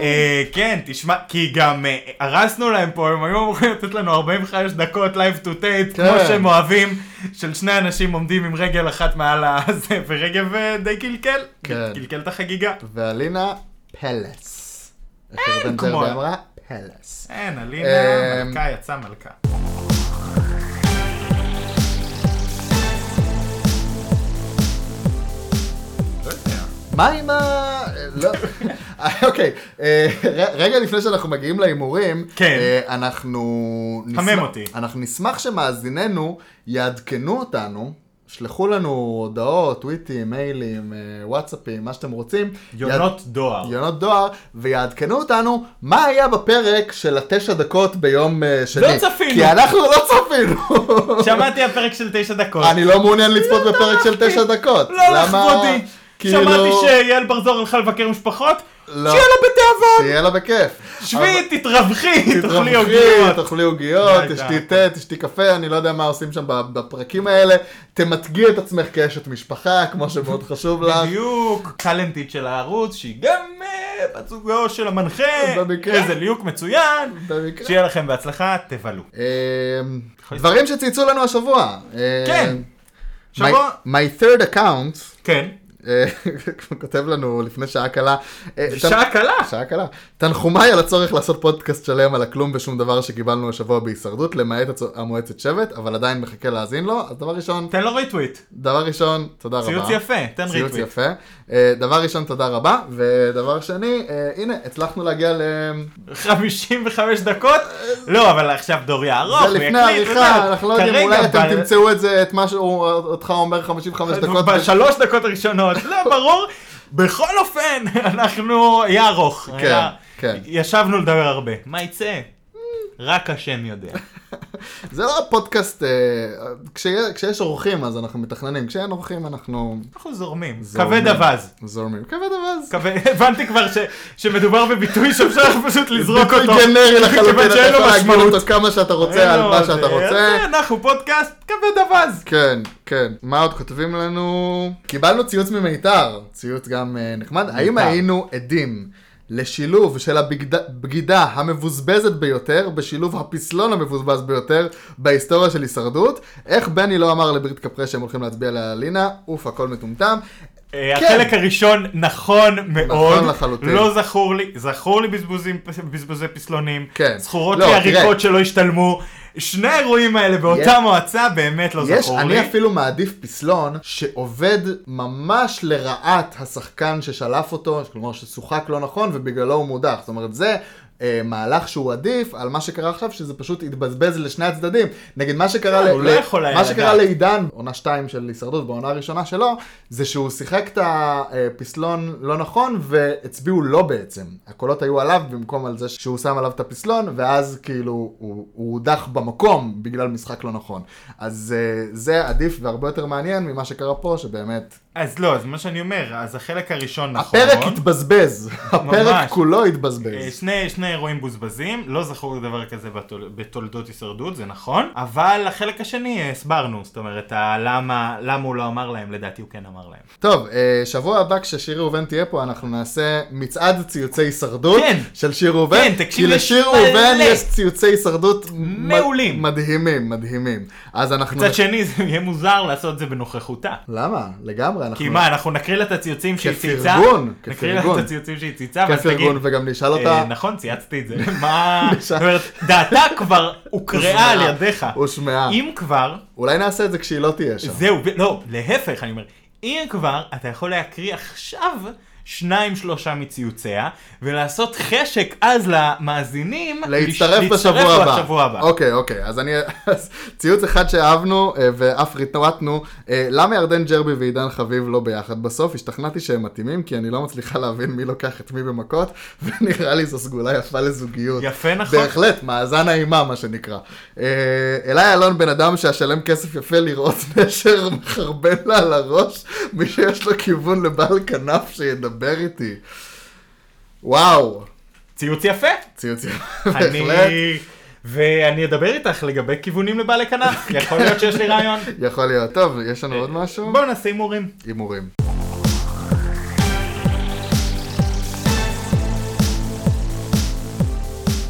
Speaker 3: אה, כן, תשמע, כי גם אה, הרסנו להם פה, הם היו אמורים לתת לנו 45 דקות live to
Speaker 2: כן.
Speaker 3: tape, כמו שהם אוהבים, של שני אנשים עומדים עם רגל אחת מעל הזה, ורגב אה, די קלקל,
Speaker 2: כן.
Speaker 3: קלקל את החגיגה.
Speaker 2: ואלינה, פלס. איך ירדן
Speaker 3: כמו-
Speaker 2: ג'רבי אמרה? פלס.
Speaker 3: אין, אלינה,
Speaker 2: אה,
Speaker 3: מלכה יצאה מלכה. לא יודע.
Speaker 2: מה עם ה... לא... אוקיי, אה, ר- רגע לפני שאנחנו מגיעים להימורים,
Speaker 3: כן.
Speaker 2: אה, אנחנו... נשמח-
Speaker 3: חמם אותי.
Speaker 2: אנחנו נשמח שמאזיננו יעדכנו אותנו. שלחו לנו הודעות, טוויטים, מיילים, אה, וואטסאפים, מה שאתם רוצים.
Speaker 3: יונות דואר.
Speaker 2: יעד... יונות דואר, ויעדכנו אותנו מה היה בפרק של התשע דקות ביום אה, שני.
Speaker 3: לא צפינו.
Speaker 2: כי אנחנו לא צפינו.
Speaker 3: שמעתי הפרק של תשע דקות.
Speaker 2: אני לא מעוניין לצפות בפרק של תשע דקות.
Speaker 3: לא
Speaker 2: למה-
Speaker 3: לכבודי.
Speaker 2: כאילו-
Speaker 3: שמעתי שיעל בר זוהר הלכה לבקר משפחות,
Speaker 2: לא.
Speaker 3: שיהיה לה בתיאבון.
Speaker 2: שיהיה לה בכיף. אבל-
Speaker 3: שבי, תתרווחי, תאכלי
Speaker 2: תתרווחי,
Speaker 3: עוגיות.
Speaker 2: תאכלי עוגיות,
Speaker 3: די,
Speaker 2: תשתי
Speaker 3: די.
Speaker 2: תה, תשתי קפה, אני לא יודע מה עושים שם בפרקים האלה. תמתגי את עצמך כאשת משפחה, כמו שמאוד חשוב לך.
Speaker 3: בדיוק, טאלנטית של הערוץ, שהיא גם אה, בת זוגו של המנחה.
Speaker 2: במקרה.
Speaker 3: איזה ליהוק מצוין.
Speaker 2: במקרה.
Speaker 3: שיהיה לכם בהצלחה, תבלו.
Speaker 2: אמ, דברים שצייצו לנו השבוע. אה,
Speaker 3: כן.
Speaker 2: my-
Speaker 3: שבוע,
Speaker 2: My third account,
Speaker 3: כן.
Speaker 2: אה, הוא כותב לנו לפני שעה קלה. אה, תנ-
Speaker 3: שעה קלה.
Speaker 2: שעה קלה. תנחומיי על הצורך לעשות פודקאסט שלם על הכלום ושום דבר שקיבלנו השבוע בהישרדות, למעט הצו- המועצת שבט, אבל עדיין מחכה להאזין לו. אז דבר ראשון,
Speaker 3: תן לו ריטוויט.
Speaker 2: דבר ראשון, תודה רבה.
Speaker 3: ציוץ יפה, תן
Speaker 2: ציוץ
Speaker 3: ריטוויט.
Speaker 2: יפה. אה, דבר ראשון, תודה רבה. ודבר שני, אה, הנה, הצלחנו להגיע ל...
Speaker 3: 55 דקות? לא, אבל עכשיו דור יערוך,
Speaker 2: זה לפני
Speaker 3: ויקליט,
Speaker 2: העריכה,
Speaker 3: וזה.
Speaker 2: אנחנו לא יודעים,
Speaker 3: כרגע
Speaker 2: אולי אתם
Speaker 3: ב-
Speaker 2: תמצאו את זה, את מה שאותך אומר 55 דקות.
Speaker 3: בשלוש דקות הראשונות, לא, ברור. בכל אופן, אנחנו, היה ארוך. היה-
Speaker 2: כן.
Speaker 3: ישבנו לדבר הרבה. מה יצא? רק השם יודע.
Speaker 2: זה לא הפודקאסט, אה, כשיה- כשיש אורחים אז אנחנו מתכננים, כשאין אורחים אנחנו
Speaker 3: אנחנו זורמים.
Speaker 2: זורמים.
Speaker 3: כבד אווז.
Speaker 2: זורמים. כבד אבז.
Speaker 3: כבד- הבנתי כבר ש- שמדובר בביטוי שאפשר פשוט לזרוק
Speaker 2: ביטוי
Speaker 3: אותו.
Speaker 2: גנרי לחלוטין,
Speaker 3: כיוון
Speaker 2: אתה
Speaker 3: שאין לו
Speaker 2: יכול להגיד
Speaker 3: משמעות.
Speaker 2: אותו כמה שאתה
Speaker 3: אין
Speaker 2: רוצה על
Speaker 3: לו
Speaker 2: מה
Speaker 3: זה.
Speaker 2: שאתה רוצה.
Speaker 3: אז אנחנו פודקאסט כבד אווז.
Speaker 2: כן, כן. מה עוד כותבים לנו? קיבלנו ציוץ ממיתר, ציוץ גם אה, נחמד. האם היינו עדים לשילוב של הבגד- הבגידה המבוזבזת ביותר, בשילוב הפסלון המבוזבז ביותר בהיסטוריה של הישרדות? איך בני לא אמר לברית קפרה שהם הולכים להצביע לאלינה? אוף, הכל מטומטם.
Speaker 3: אה, החלק הראשון נכון מאוד.
Speaker 2: כן. לחלוטין.
Speaker 3: לא זכור לי, זכור לי בזבוזים- בזבוזי פסלונים.
Speaker 2: כן.
Speaker 3: זכורות
Speaker 2: לא,
Speaker 3: לי
Speaker 2: תראה.
Speaker 3: עריקות שלא השתלמו. שני האירועים האלה באותה
Speaker 2: יש-
Speaker 3: מועצה באמת לא
Speaker 2: יש,
Speaker 3: זכור לי.
Speaker 2: אני אפילו מעדיף פסלון שעובד ממש לרעת השחקן ששלף אותו, כלומר ששוחק לא נכון ובגללו הוא מודח. זאת אומרת, זה אה, מהלך שהוא עדיף על מה שקרה עכשיו, שזה פשוט התבזבז לשני הצדדים. נגיד מה שקרה,
Speaker 3: כן,
Speaker 2: ל-
Speaker 3: הוא לא
Speaker 2: ל-
Speaker 3: יכול היה
Speaker 2: מה שקרה
Speaker 3: לדעת.
Speaker 2: לעידן, עונה 2 של הישרדות, בעונה הראשונה שלו, זה שהוא שיחק את הפסלון לא נכון והצביעו לו בעצם. הקולות היו עליו במקום על זה שהוא שם עליו את הפסלון, ואז כאילו הוא הוא הודח במקום בגלל משחק לא נכון. אז אה, זה עדיף והרבה יותר מעניין ממה שקרה פה, שבאמת...
Speaker 3: אז לא, אז מה שאני אומר, אז החלק הראשון נכון.
Speaker 2: הפרק התבזבז, הפרק כולו
Speaker 3: אה,
Speaker 2: התבזבז.
Speaker 3: שני, שני אירועים בוזבזים, לא זכור לי דבר כזה בתול, בתולדות הישרדות, זה נכון, אבל החלק השני אה, הסברנו, זאת אומרת, ה- למה, למה הוא לא אמר להם, לדעתי הוא כן אמר להם.
Speaker 2: טוב, אה, שבוע הבא כששיר ראובן תהיה פה, אנחנו נעשה מצעד ציוצי הישרדות
Speaker 3: כן.
Speaker 2: של שיר ראובן.
Speaker 3: כן, תקשיב,
Speaker 2: כי
Speaker 3: יש
Speaker 2: לשיר ראובן
Speaker 3: מלא.
Speaker 2: יש ציוצי הישרדות מ-
Speaker 3: מעולים.
Speaker 2: מדהימים, מדהימים. אז אנחנו...
Speaker 3: מצד שני, זה יהיה מוזר לעשות את זה בנוכחותה.
Speaker 2: למה? לגמרי, אנחנו...
Speaker 3: כי מה, אנחנו נקריא לה את הציוצים שהיא ציצה?
Speaker 2: כפרגון,
Speaker 3: נקריא לה
Speaker 2: כפרגון.
Speaker 3: את הציוצים שהיא ציצה, ואז תגיד,
Speaker 2: כפרגון, וגם נשאל
Speaker 3: אה,
Speaker 2: אותה...
Speaker 3: נכון, צייצתי את זה, מה...
Speaker 2: נשאל.
Speaker 3: זאת אומרת, דעתה כבר הוקראה על
Speaker 2: הושמעה,
Speaker 3: נכון. ידיך.
Speaker 2: הושמעה.
Speaker 3: אם כבר,
Speaker 2: אולי נעשה את זה כשהיא לא תהיה שם.
Speaker 3: זהו, ב- לא, להפך, אני אומר, אם כבר, אתה יכול להקריא עכשיו שניים שלושה מציוציה, ולעשות חשק אז למאזינים,
Speaker 2: להצטרף
Speaker 3: לש-
Speaker 2: בשבוע
Speaker 3: להצטרף
Speaker 2: הבא.
Speaker 3: בשבוע הבא.
Speaker 2: אוקיי, אוקיי. אז אני... אז ציוץ אחד שאהבנו אה, ואף ריטואטנו, אה, למה ירדן ג'רבי ועידן חביב לא ביחד? בסוף השתכנעתי שהם מתאימים, כי אני לא מצליחה להבין מי לוקח את מי במכות, ונראה לי זו סגולה יפה לזוגיות.
Speaker 3: יפה, נכון.
Speaker 2: בהחלט, מאזן האימה, מה שנקרא. אה, אלי אלון בן אדם שאשלם כסף יפה לראות נשר מחרבן לה על הראש, מי שיש לו כיוון לבעל כנף שידבר איתי. וואו,
Speaker 3: ציוץ יפה.
Speaker 2: ציוץ יפה, בהחלט.
Speaker 3: אני... ואני אדבר איתך לגבי כיוונים לבעלי כנף, יכול להיות שיש לי רעיון.
Speaker 2: יכול להיות. טוב, יש לנו עוד משהו?
Speaker 3: בואו נעשה הימורים.
Speaker 2: הימורים.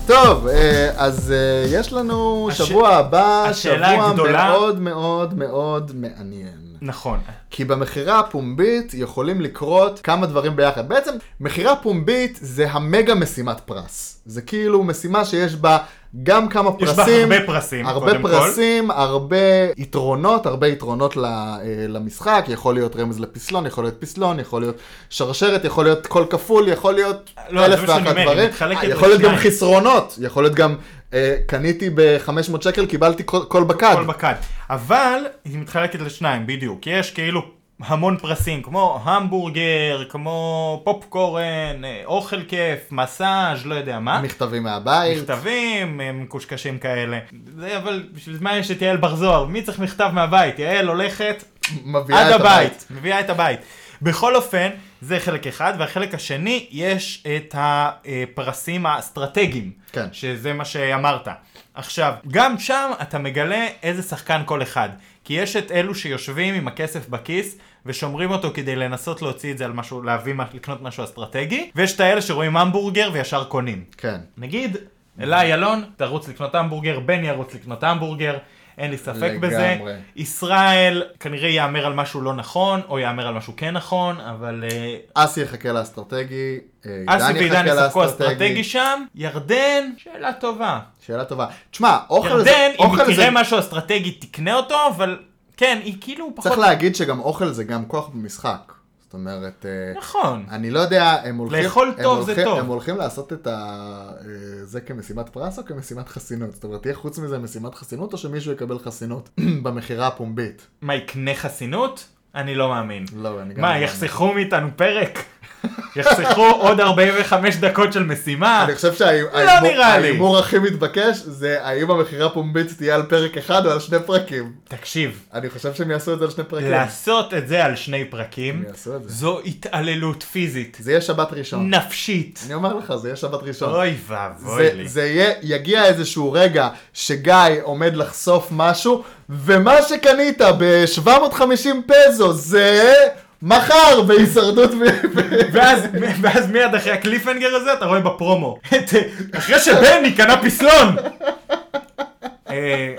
Speaker 2: טוב, אה, אז אה, יש לנו
Speaker 3: הש-
Speaker 2: שבוע הבא,
Speaker 3: השאלה
Speaker 2: שבוע
Speaker 3: הגדולה-
Speaker 2: מאוד מאוד מאוד מעניין.
Speaker 3: נכון.
Speaker 2: כי במכירה הפומבית יכולים לקרות כמה דברים ביחד. בעצם, מכירה פומבית זה המגה משימת פרס. זה כאילו משימה שיש בה גם כמה
Speaker 3: יש בה
Speaker 2: פרסים.
Speaker 3: הרבה פרסים,
Speaker 2: הרבה
Speaker 3: קודם כל.
Speaker 2: פרסים, הרבה יתרונות, הרבה יתרונות ל- אה, למשחק. יכול להיות רמז לפסלון, יכול להיות פסלון, יכול להיות שרשרת, יכול להיות קול כפול, יכול להיות
Speaker 3: לא,
Speaker 2: אלף
Speaker 3: זה מה שאני
Speaker 2: ואחת
Speaker 3: אומר, היא
Speaker 2: דברים.
Speaker 3: מתחלקת
Speaker 2: אה, יכול להיות גם
Speaker 3: לשניים.
Speaker 2: חסרונות, יכול להיות גם אה, קניתי ב-500 שקל, קיבלתי קול קול בקד.
Speaker 3: כל בקד. אבל היא מתחלקת לשניים, בדיוק. יש כאילו המון פרסים, כמו המבורגר, כמו פופקורן, אה, אוכל כיף, מסאז', לא יודע מה.
Speaker 2: מכתבים מהבית.
Speaker 3: מכתבים, אה, מקושקשים כאלה. זה אבל בשביל מה יש את יעל בר זוהר? מי צריך מכתב מהבית? יעל הולכת
Speaker 2: מביאה
Speaker 3: עד
Speaker 2: את הבית.
Speaker 3: הבית, מביאה את הבית. בכל אופן, זה חלק אחד, והחלק השני, יש את הפרסים האסטרטגיים.
Speaker 2: כן.
Speaker 3: שזה מה שאמרת. עכשיו, גם שם אתה מגלה איזה שחקן כל אחד. כי יש את אלו שיושבים עם הכסף בכיס ושומרים אותו כדי לנסות להוציא את זה על משהו, להביא, מה- לקנות משהו אסטרטגי, ויש את האלה שרואים המבורגר וישר קונים.
Speaker 2: כן.
Speaker 3: נגיד, אלי אלון, תרוץ לקנות המבורגר, בני ירוץ לקנות המבורגר, אין לי ספק
Speaker 2: לגמרי.
Speaker 3: בזה. ישראל כנראה יאמר על משהו לא נכון, או יאמר על משהו כן נכון, אבל אה,
Speaker 2: אסי יחכה לאסטרטגי, אה,
Speaker 3: אסי
Speaker 2: עידן
Speaker 3: ועידן
Speaker 2: יחכה
Speaker 3: ישחקו
Speaker 2: לאסטרטגי.
Speaker 3: אסטרטגי שם, ירדן, שאלה טובה.
Speaker 2: שאלה טובה. תשמע, אוכל זה...
Speaker 3: ירדן, אם
Speaker 2: אוכל
Speaker 3: היא
Speaker 2: זה-
Speaker 3: תראה משהו אסטרטגי, תקנה אותו, אבל כן, היא כאילו פחות...
Speaker 2: צריך להגיד שגם אוכל זה גם כוח במשחק. זאת אומרת... אה,
Speaker 3: נכון.
Speaker 2: אני לא יודע, הם הולכים...
Speaker 3: לאכול
Speaker 2: הם
Speaker 3: טוב זה
Speaker 2: הולכים-
Speaker 3: טוב.
Speaker 2: הם הולכים לעשות את ה... אה, זה כמשימת פרס או כמשימת חסינות? זאת אומרת, תהיה חוץ מזה משימת חסינות, או שמישהו יקבל חסינות במכירה הפומבית?
Speaker 3: מה, יקנה חסינות? אני לא מאמין.
Speaker 2: לא, אני גם...
Speaker 3: מה,
Speaker 2: לא
Speaker 3: יחסכו מאיתנו פרק? יחסכו עוד 45 דקות של משימה.
Speaker 2: אני חושב שההימור
Speaker 3: לא נראה לי.
Speaker 2: ההימור הכי מתבקש זה האם המכירה הפומבית תהיה על פרק אחד או על שני פרקים.
Speaker 3: תקשיב,
Speaker 2: אני חושב שהם יעשו את זה על שני פרקים.
Speaker 3: לעשות את זה על שני פרקים,
Speaker 2: הם יעשו כן. את זה.
Speaker 3: זו התעללות פיזית,
Speaker 2: זה יהיה שבת ראשון.
Speaker 3: נפשית.
Speaker 2: אני אומר לך, זה יהיה שבת ראשון.
Speaker 3: אוי
Speaker 2: זה,
Speaker 3: ואבוי לי.
Speaker 2: זה יהיה, יגיע איזשהו רגע שגיא עומד לחשוף משהו, ומה שקנית ב-750 פזו זה מחר בהישרדות. ב- ב-
Speaker 3: ואז, ואז מיד אחרי הקליפהנגר הזה אתה רואה בפרומו. את- אחרי שבני קנה פסלון! אה,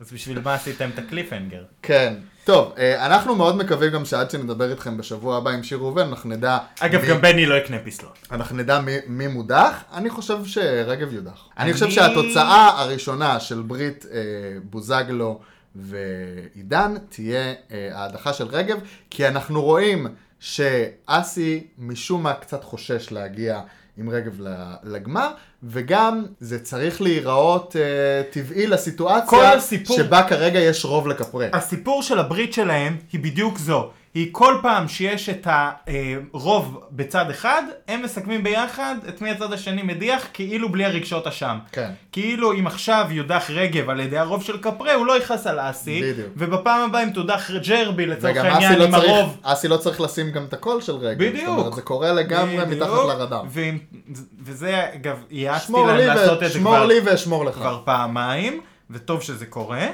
Speaker 3: אז בשביל מה עשיתם את הקליפהנגר?
Speaker 2: כן. טוב, אה, אנחנו מאוד מקווים גם שעד שנדבר איתכם בשבוע הבא עם שיר ראובן, אנחנו נדע...
Speaker 3: אגב,
Speaker 2: מי-
Speaker 3: גם בני לא יקנה פסלון.
Speaker 2: אנחנו נדע מי, מי מודח, אני חושב שרגב יודח. אני,
Speaker 3: אני-
Speaker 2: חושב שהתוצאה הראשונה של ברית אה, בוזגלו ועידן תהיה אה, ההדחה של רגב, כי אנחנו רואים שאסי משום מה קצת חושש להגיע עם רגב ל- לגמר, וגם זה צריך להיראות אה, טבעי
Speaker 3: כל
Speaker 2: לסיטואציה
Speaker 3: הסיפור-
Speaker 2: שבה כרגע יש רוב לקפרה.
Speaker 3: הסיפור של הברית שלהם היא בדיוק זו. היא כל פעם שיש את הרוב בצד אחד, הם מסכמים ביחד את מי הצד השני מדיח, כאילו בלי הרגשות אשם.
Speaker 2: כן.
Speaker 3: כאילו אם עכשיו יודח רגב על ידי הרוב של קפרה, הוא לא יכעס על אסי.
Speaker 2: בדיוק.
Speaker 3: ובפעם הבאה אם תודח ג'רבי לצורך
Speaker 2: וגם אסי
Speaker 3: העניין
Speaker 2: לא,
Speaker 3: עם
Speaker 2: צריך,
Speaker 3: הרוב.
Speaker 2: אסי לא צריך לשים גם את הקול של רגב.
Speaker 3: בדיוק.
Speaker 2: זאת אומרת, זה קורה לגמרי
Speaker 3: בדיוק.
Speaker 2: מתחת לרדאר.
Speaker 3: ואם- וזה, אגב, יעצתי
Speaker 2: שמור לי,
Speaker 3: להם לעשות
Speaker 2: ו...
Speaker 3: את זה
Speaker 2: שמור
Speaker 3: כבר
Speaker 2: לי ואשמור לך.
Speaker 3: כבר פעמיים, וטוב שזה קורה.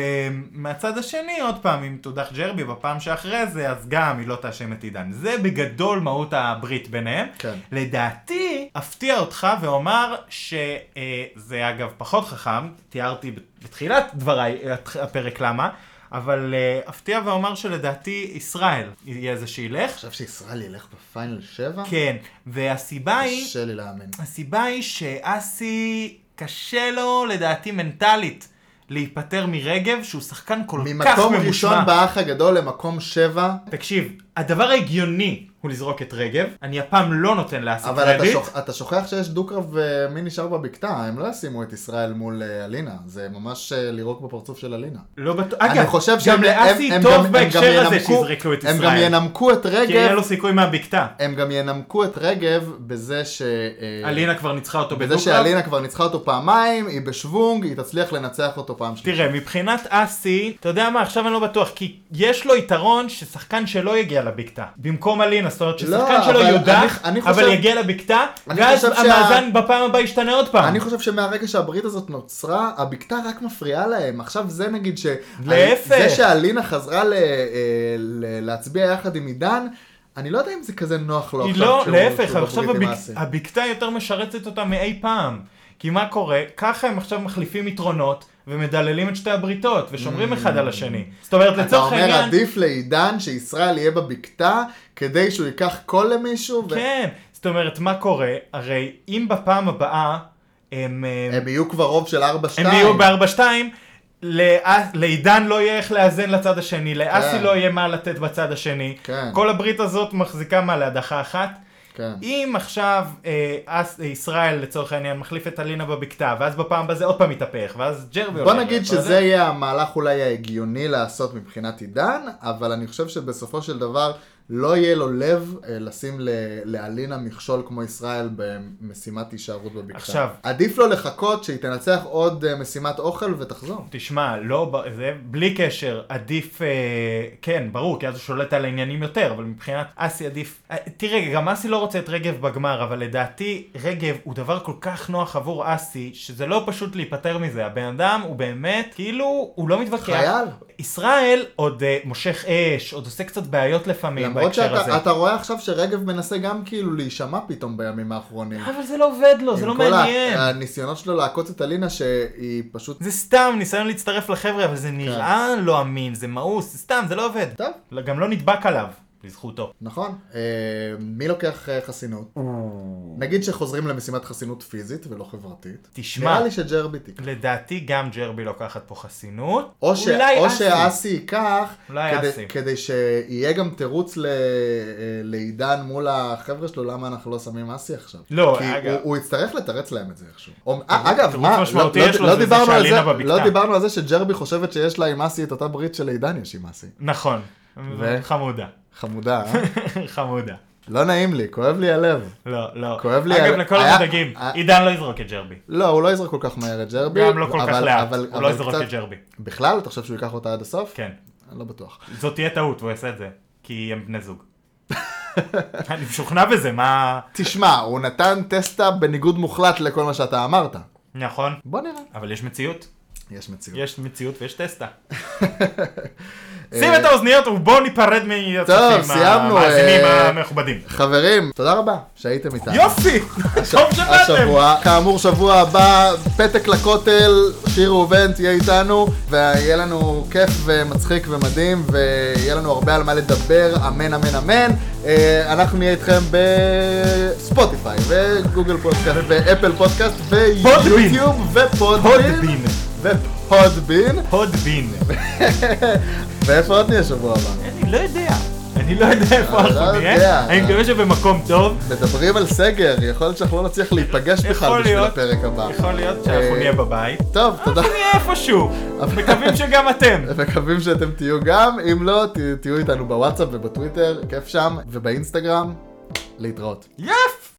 Speaker 3: ומהצד השני, עוד פעם, אם תודח ג'רבי בפעם שאחרי זה, אז גם היא לא תאשם את עידן. זה בגדול מהות הברית ביניהם.
Speaker 2: כן.
Speaker 3: לדעתי, אפתיע אותך ואומר שזה אגב פחות חכם, תיארתי בתחילת דבריי את הפרק למה, אבל אה, אפתיע ואומר שלדעתי ישראל יהיה זה שילך.
Speaker 2: עכשיו שישראל ילך בפיינל 7?
Speaker 3: כן, והסיבה היא...
Speaker 2: קשה לי להאמין.
Speaker 3: הסיבה היא שאסי, קשה לו, לדעתי מנטלית, להיפטר מרגב, שהוא שחקן כל כך
Speaker 2: ממקום ראשון
Speaker 3: ממושמע.
Speaker 2: באח הגדול למקום 7,
Speaker 3: תקשיב, הדבר ההגיוני הוא לזרוק את רגב, אני הפעם לא נותן לאסי
Speaker 2: אבל אתה,
Speaker 3: קרדיט.
Speaker 2: שוכ... אתה שוכח שיש דו-קרב ומי נשאר בבקתה, הם לא ישימו את ישראל מול אה, אלינה, זה ממש אה, לירוק בפרצוף של אלינה.
Speaker 3: לא בטוח,
Speaker 2: אני
Speaker 3: אגב,
Speaker 2: חושב
Speaker 3: גם
Speaker 2: שהם-
Speaker 3: לאסי
Speaker 2: הם- הם גם-
Speaker 3: טוב
Speaker 2: הם
Speaker 3: בהקשר
Speaker 2: גם
Speaker 3: הזה
Speaker 2: ינמקו-
Speaker 3: שיזרקו את
Speaker 2: הם גם
Speaker 3: ישראל.
Speaker 2: ינמקו את
Speaker 3: כי יהיה
Speaker 2: רגב,
Speaker 3: לו סיכוי מהבקתה.
Speaker 2: הם גם ינמקו את רגב בזה ש... אה,
Speaker 3: אלינה כבר ניצחה אותו
Speaker 2: בזה
Speaker 3: בדו-קרב.
Speaker 2: שאלינה כבר ניצחה אותו פעמיים, היא בשוונג, היא תצליח לנצח אותו פעם שלישית.
Speaker 3: תראה, מבחינת אסי, אתה יודע מה, עכשיו אני לא בטוח, כי יש לו יתרון ששחקן שלא יגיע לבקתה. במקום אלינה, זאת אומרת ששחקן
Speaker 2: לא,
Speaker 3: שלא
Speaker 2: אבל
Speaker 3: יודח,
Speaker 2: אני- אני חושב-
Speaker 3: אבל יגיע לבקתה,
Speaker 2: אני
Speaker 3: ואז
Speaker 2: חושב שה-
Speaker 3: המאזן בפעם הבאה ישתנה עוד פעם.
Speaker 2: אני חושב שמהרגע שהברית הזאת נוצרה, הבקתה רק מפריעה להם. עכשיו זה נגיד ש...
Speaker 3: להפך.
Speaker 2: זה שאלינה חזרה ל... אה, ל... להצביע יחד עם עידן, אני לא יודע אם זה כזה נוח לו
Speaker 3: היא
Speaker 2: עכשיו.
Speaker 3: לא,
Speaker 2: כשהוא-
Speaker 3: להפך,
Speaker 2: כשהוא
Speaker 3: עכשיו
Speaker 2: בברית עם
Speaker 3: הבק-
Speaker 2: אסי.
Speaker 3: הבקתה יותר משרתת אותה מאי פעם. כי מה קורה? ככה הם עכשיו מחליפים יתרונות, ומדללים את שתי הבריתות, ושומרים אחד על השני. זאת אומרת,
Speaker 2: Mm. אתה
Speaker 3: לצורך
Speaker 2: אומר,
Speaker 3: העניין...
Speaker 2: עדיף לעידן שישראל יהיה בבקתה, כדי שהוא ייקח קול למישהו, ו-
Speaker 3: כן, זאת אומרת, מה קורה? הרי אם בפעם הבאה הם... אה,
Speaker 2: הם יהיו כבר רוב של 4-2.
Speaker 3: הם יהיו ב-4-2, לאז- לעידן לא יהיה איך לאזן לצד השני, לאסי
Speaker 2: כן.
Speaker 3: לא יהיה מה לתת בצד השני.
Speaker 2: כן.
Speaker 3: כל הברית הזאת מחזיקה מה להדחה אחת.
Speaker 2: כן.
Speaker 3: אם עכשיו אה, אס, אה, ישראל לצורך העניין מחליף את אלינה בבקתה, ואז בפעם הבאה זה עוד פעם מתהפך, ואז ג'רבי
Speaker 2: בוא
Speaker 3: עולה,
Speaker 2: נגיד
Speaker 3: ואתה יודע.
Speaker 2: שזה יהיה המהלך אולי ההגיוני לעשות מבחינת עידן, אבל אני חושב שבסופו של דבר לא יהיה לו לב אה, לשים ל- לאלינה מכשול כמו ישראל במשימת הישארות בבקתה.
Speaker 3: עכשיו.
Speaker 2: עדיף לו לחכות שהיא תנצח עוד אה, משימת אוכל ותחזור.
Speaker 3: תשמע, לא, ב- זה בלי קשר, עדיף, אה, כן, ברור, כי אז הוא שולט על העניינים יותר, אבל מבחינת אסי עדיף... אה, תראה, גם אסי לא רוצה את רגב בגמר, אבל לדעתי, רגב הוא דבר כל כך נוח עבור אסי, שזה לא פשוט להיפטר מזה. הבן אדם הוא באמת, כאילו, הוא לא מתווכח.
Speaker 2: חייל.
Speaker 3: ישראל עוד אה, מושך אש, עוד עושה קצת בעיות לפעמים
Speaker 2: למרות
Speaker 3: בהקשר הזה.
Speaker 2: שאתה אתה רואה עכשיו שרגב מנסה גם כאילו להישמע פתאום בימים האחרונים.
Speaker 3: אבל זה לא עובד לו, זה
Speaker 2: עם
Speaker 3: לא
Speaker 2: כל ה- אה,
Speaker 3: מעניין.
Speaker 2: הניסיונות שלו לעקוץ את אלינה שהיא פשוט...
Speaker 3: זה סתם ניסיון להצטרף לחבר'ה, אבל
Speaker 2: כן.
Speaker 3: זה נראה לא אמין, זה מאוס, זה סתם, זה לא עובד.
Speaker 2: טוב,
Speaker 3: לא- גם לא נדבק עליו, לזכותו.
Speaker 2: נכון. אה, מי לוקח אה, חסינות? נגיד שחוזרים למשימת חסינות פיזית ולא חברתית.
Speaker 3: תשמע,
Speaker 2: נראה לי שג'רבי תיקח.
Speaker 3: לדעתי גם ג'רבי לוקחת פה חסינות.
Speaker 2: או, ש...
Speaker 3: אולי
Speaker 2: או
Speaker 3: אסי.
Speaker 2: שאסי ייקח,
Speaker 3: אולי
Speaker 2: כדי,
Speaker 3: אסי.
Speaker 2: כדי שיהיה גם תירוץ ל... אה, לעידן מול החבר'ה שלו, למה אנחנו לא שמים אסי עכשיו.
Speaker 3: לא,
Speaker 2: כי
Speaker 3: אגב.
Speaker 2: הוא, הוא יצטרך לתרץ להם את זה איכשהו. או, אה, אגב,
Speaker 3: תירוץ
Speaker 2: מה, לא,
Speaker 3: משמעותי
Speaker 2: לא,
Speaker 3: יש לו
Speaker 2: לא,
Speaker 3: זה
Speaker 2: דיברנו על
Speaker 3: שאלינה
Speaker 2: זה,
Speaker 3: בבקתה.
Speaker 2: לא דיברנו על זה שג'רבי חושבת שיש לה עם אסי את אותה ברית שלעידן יש עם אסי.
Speaker 3: נכון.
Speaker 2: ו?
Speaker 3: חמודה.
Speaker 2: חמודה, אה?
Speaker 3: חמודה.
Speaker 2: לא נעים לי, כואב לי הלב.
Speaker 3: לא, לא.
Speaker 2: כואב לי
Speaker 3: אגב,
Speaker 2: על-
Speaker 3: לכל
Speaker 2: היה-
Speaker 3: המודאגים,
Speaker 2: אה-
Speaker 3: עידן לא יזרוק את ג'רבי.
Speaker 2: לא, הוא לא יזרוק כל כך מהר את ג'רבי.
Speaker 3: גם לא כל כך
Speaker 2: אבל-
Speaker 3: לאט,
Speaker 2: אבל-
Speaker 3: הוא לא
Speaker 2: אבל
Speaker 3: יזרוק
Speaker 2: קצת-
Speaker 3: את ג'רבי.
Speaker 2: בכלל? אתה חושב שהוא ייקח אותה עד הסוף?
Speaker 3: כן.
Speaker 2: אני לא בטוח.
Speaker 3: זאת תהיה טעות, הוא יעשה את זה. כי הם בני זוג. אני משוכנע בזה, מה...
Speaker 2: תשמע, הוא נתן טסטה בניגוד מוחלט לכל מה שאתה אמרת.
Speaker 3: נכון.
Speaker 2: בוא נראה.
Speaker 3: אבל יש מציאות.
Speaker 2: יש מציאות.
Speaker 3: יש מציאות ויש טסטה. שים את האוזניות ובואו ניפרד מהצופים
Speaker 2: אה, סיימנו,
Speaker 3: המאזינים
Speaker 2: אה,
Speaker 3: המכובדים.
Speaker 2: חברים, תודה רבה שהייתם איתנו.
Speaker 3: יופי! טוב שבאתם!
Speaker 2: השבוע, כאמור שבוע הבא, פתק לכותל, שיר ראובן תהיה איתנו, ויהיה לנו כיף ומצחיק ומדהים, ויהיה לנו הרבה על מה לדבר, אמן אמן אמן. אה, אנחנו נהיה איתכם בספוטיפיי, וגוגל פודקאסט, ואפל פודקאסט, ויוטיוב, ופודבין,
Speaker 3: פודבין.
Speaker 2: ופודבין,
Speaker 3: הודבין.
Speaker 2: ואיפה עוד נהיה שבוע הבא?
Speaker 3: אני לא יודע. אני לא יודע איפה
Speaker 2: אני לא
Speaker 3: אנחנו
Speaker 2: יודע.
Speaker 3: נהיה. אני מקווה שבמקום טוב.
Speaker 2: מדברים על סגר, יכול להיות שאנחנו לא נצליח להיפגש בכלל
Speaker 3: יכול
Speaker 2: בשביל
Speaker 3: להיות.
Speaker 2: הפרק הבא.
Speaker 3: יכול להיות שאנחנו
Speaker 2: אה, לא.
Speaker 3: נהיה בבית.
Speaker 2: טוב, תודה.
Speaker 3: אנחנו נהיה איפשהו. מקווים שגם אתם.
Speaker 2: מקווים שאתם תהיו גם, אם לא, ת- תהיו איתנו בוואטסאפ ובטוויטר, כיף שם, ובאינסטגרם, להתראות.
Speaker 3: יפ!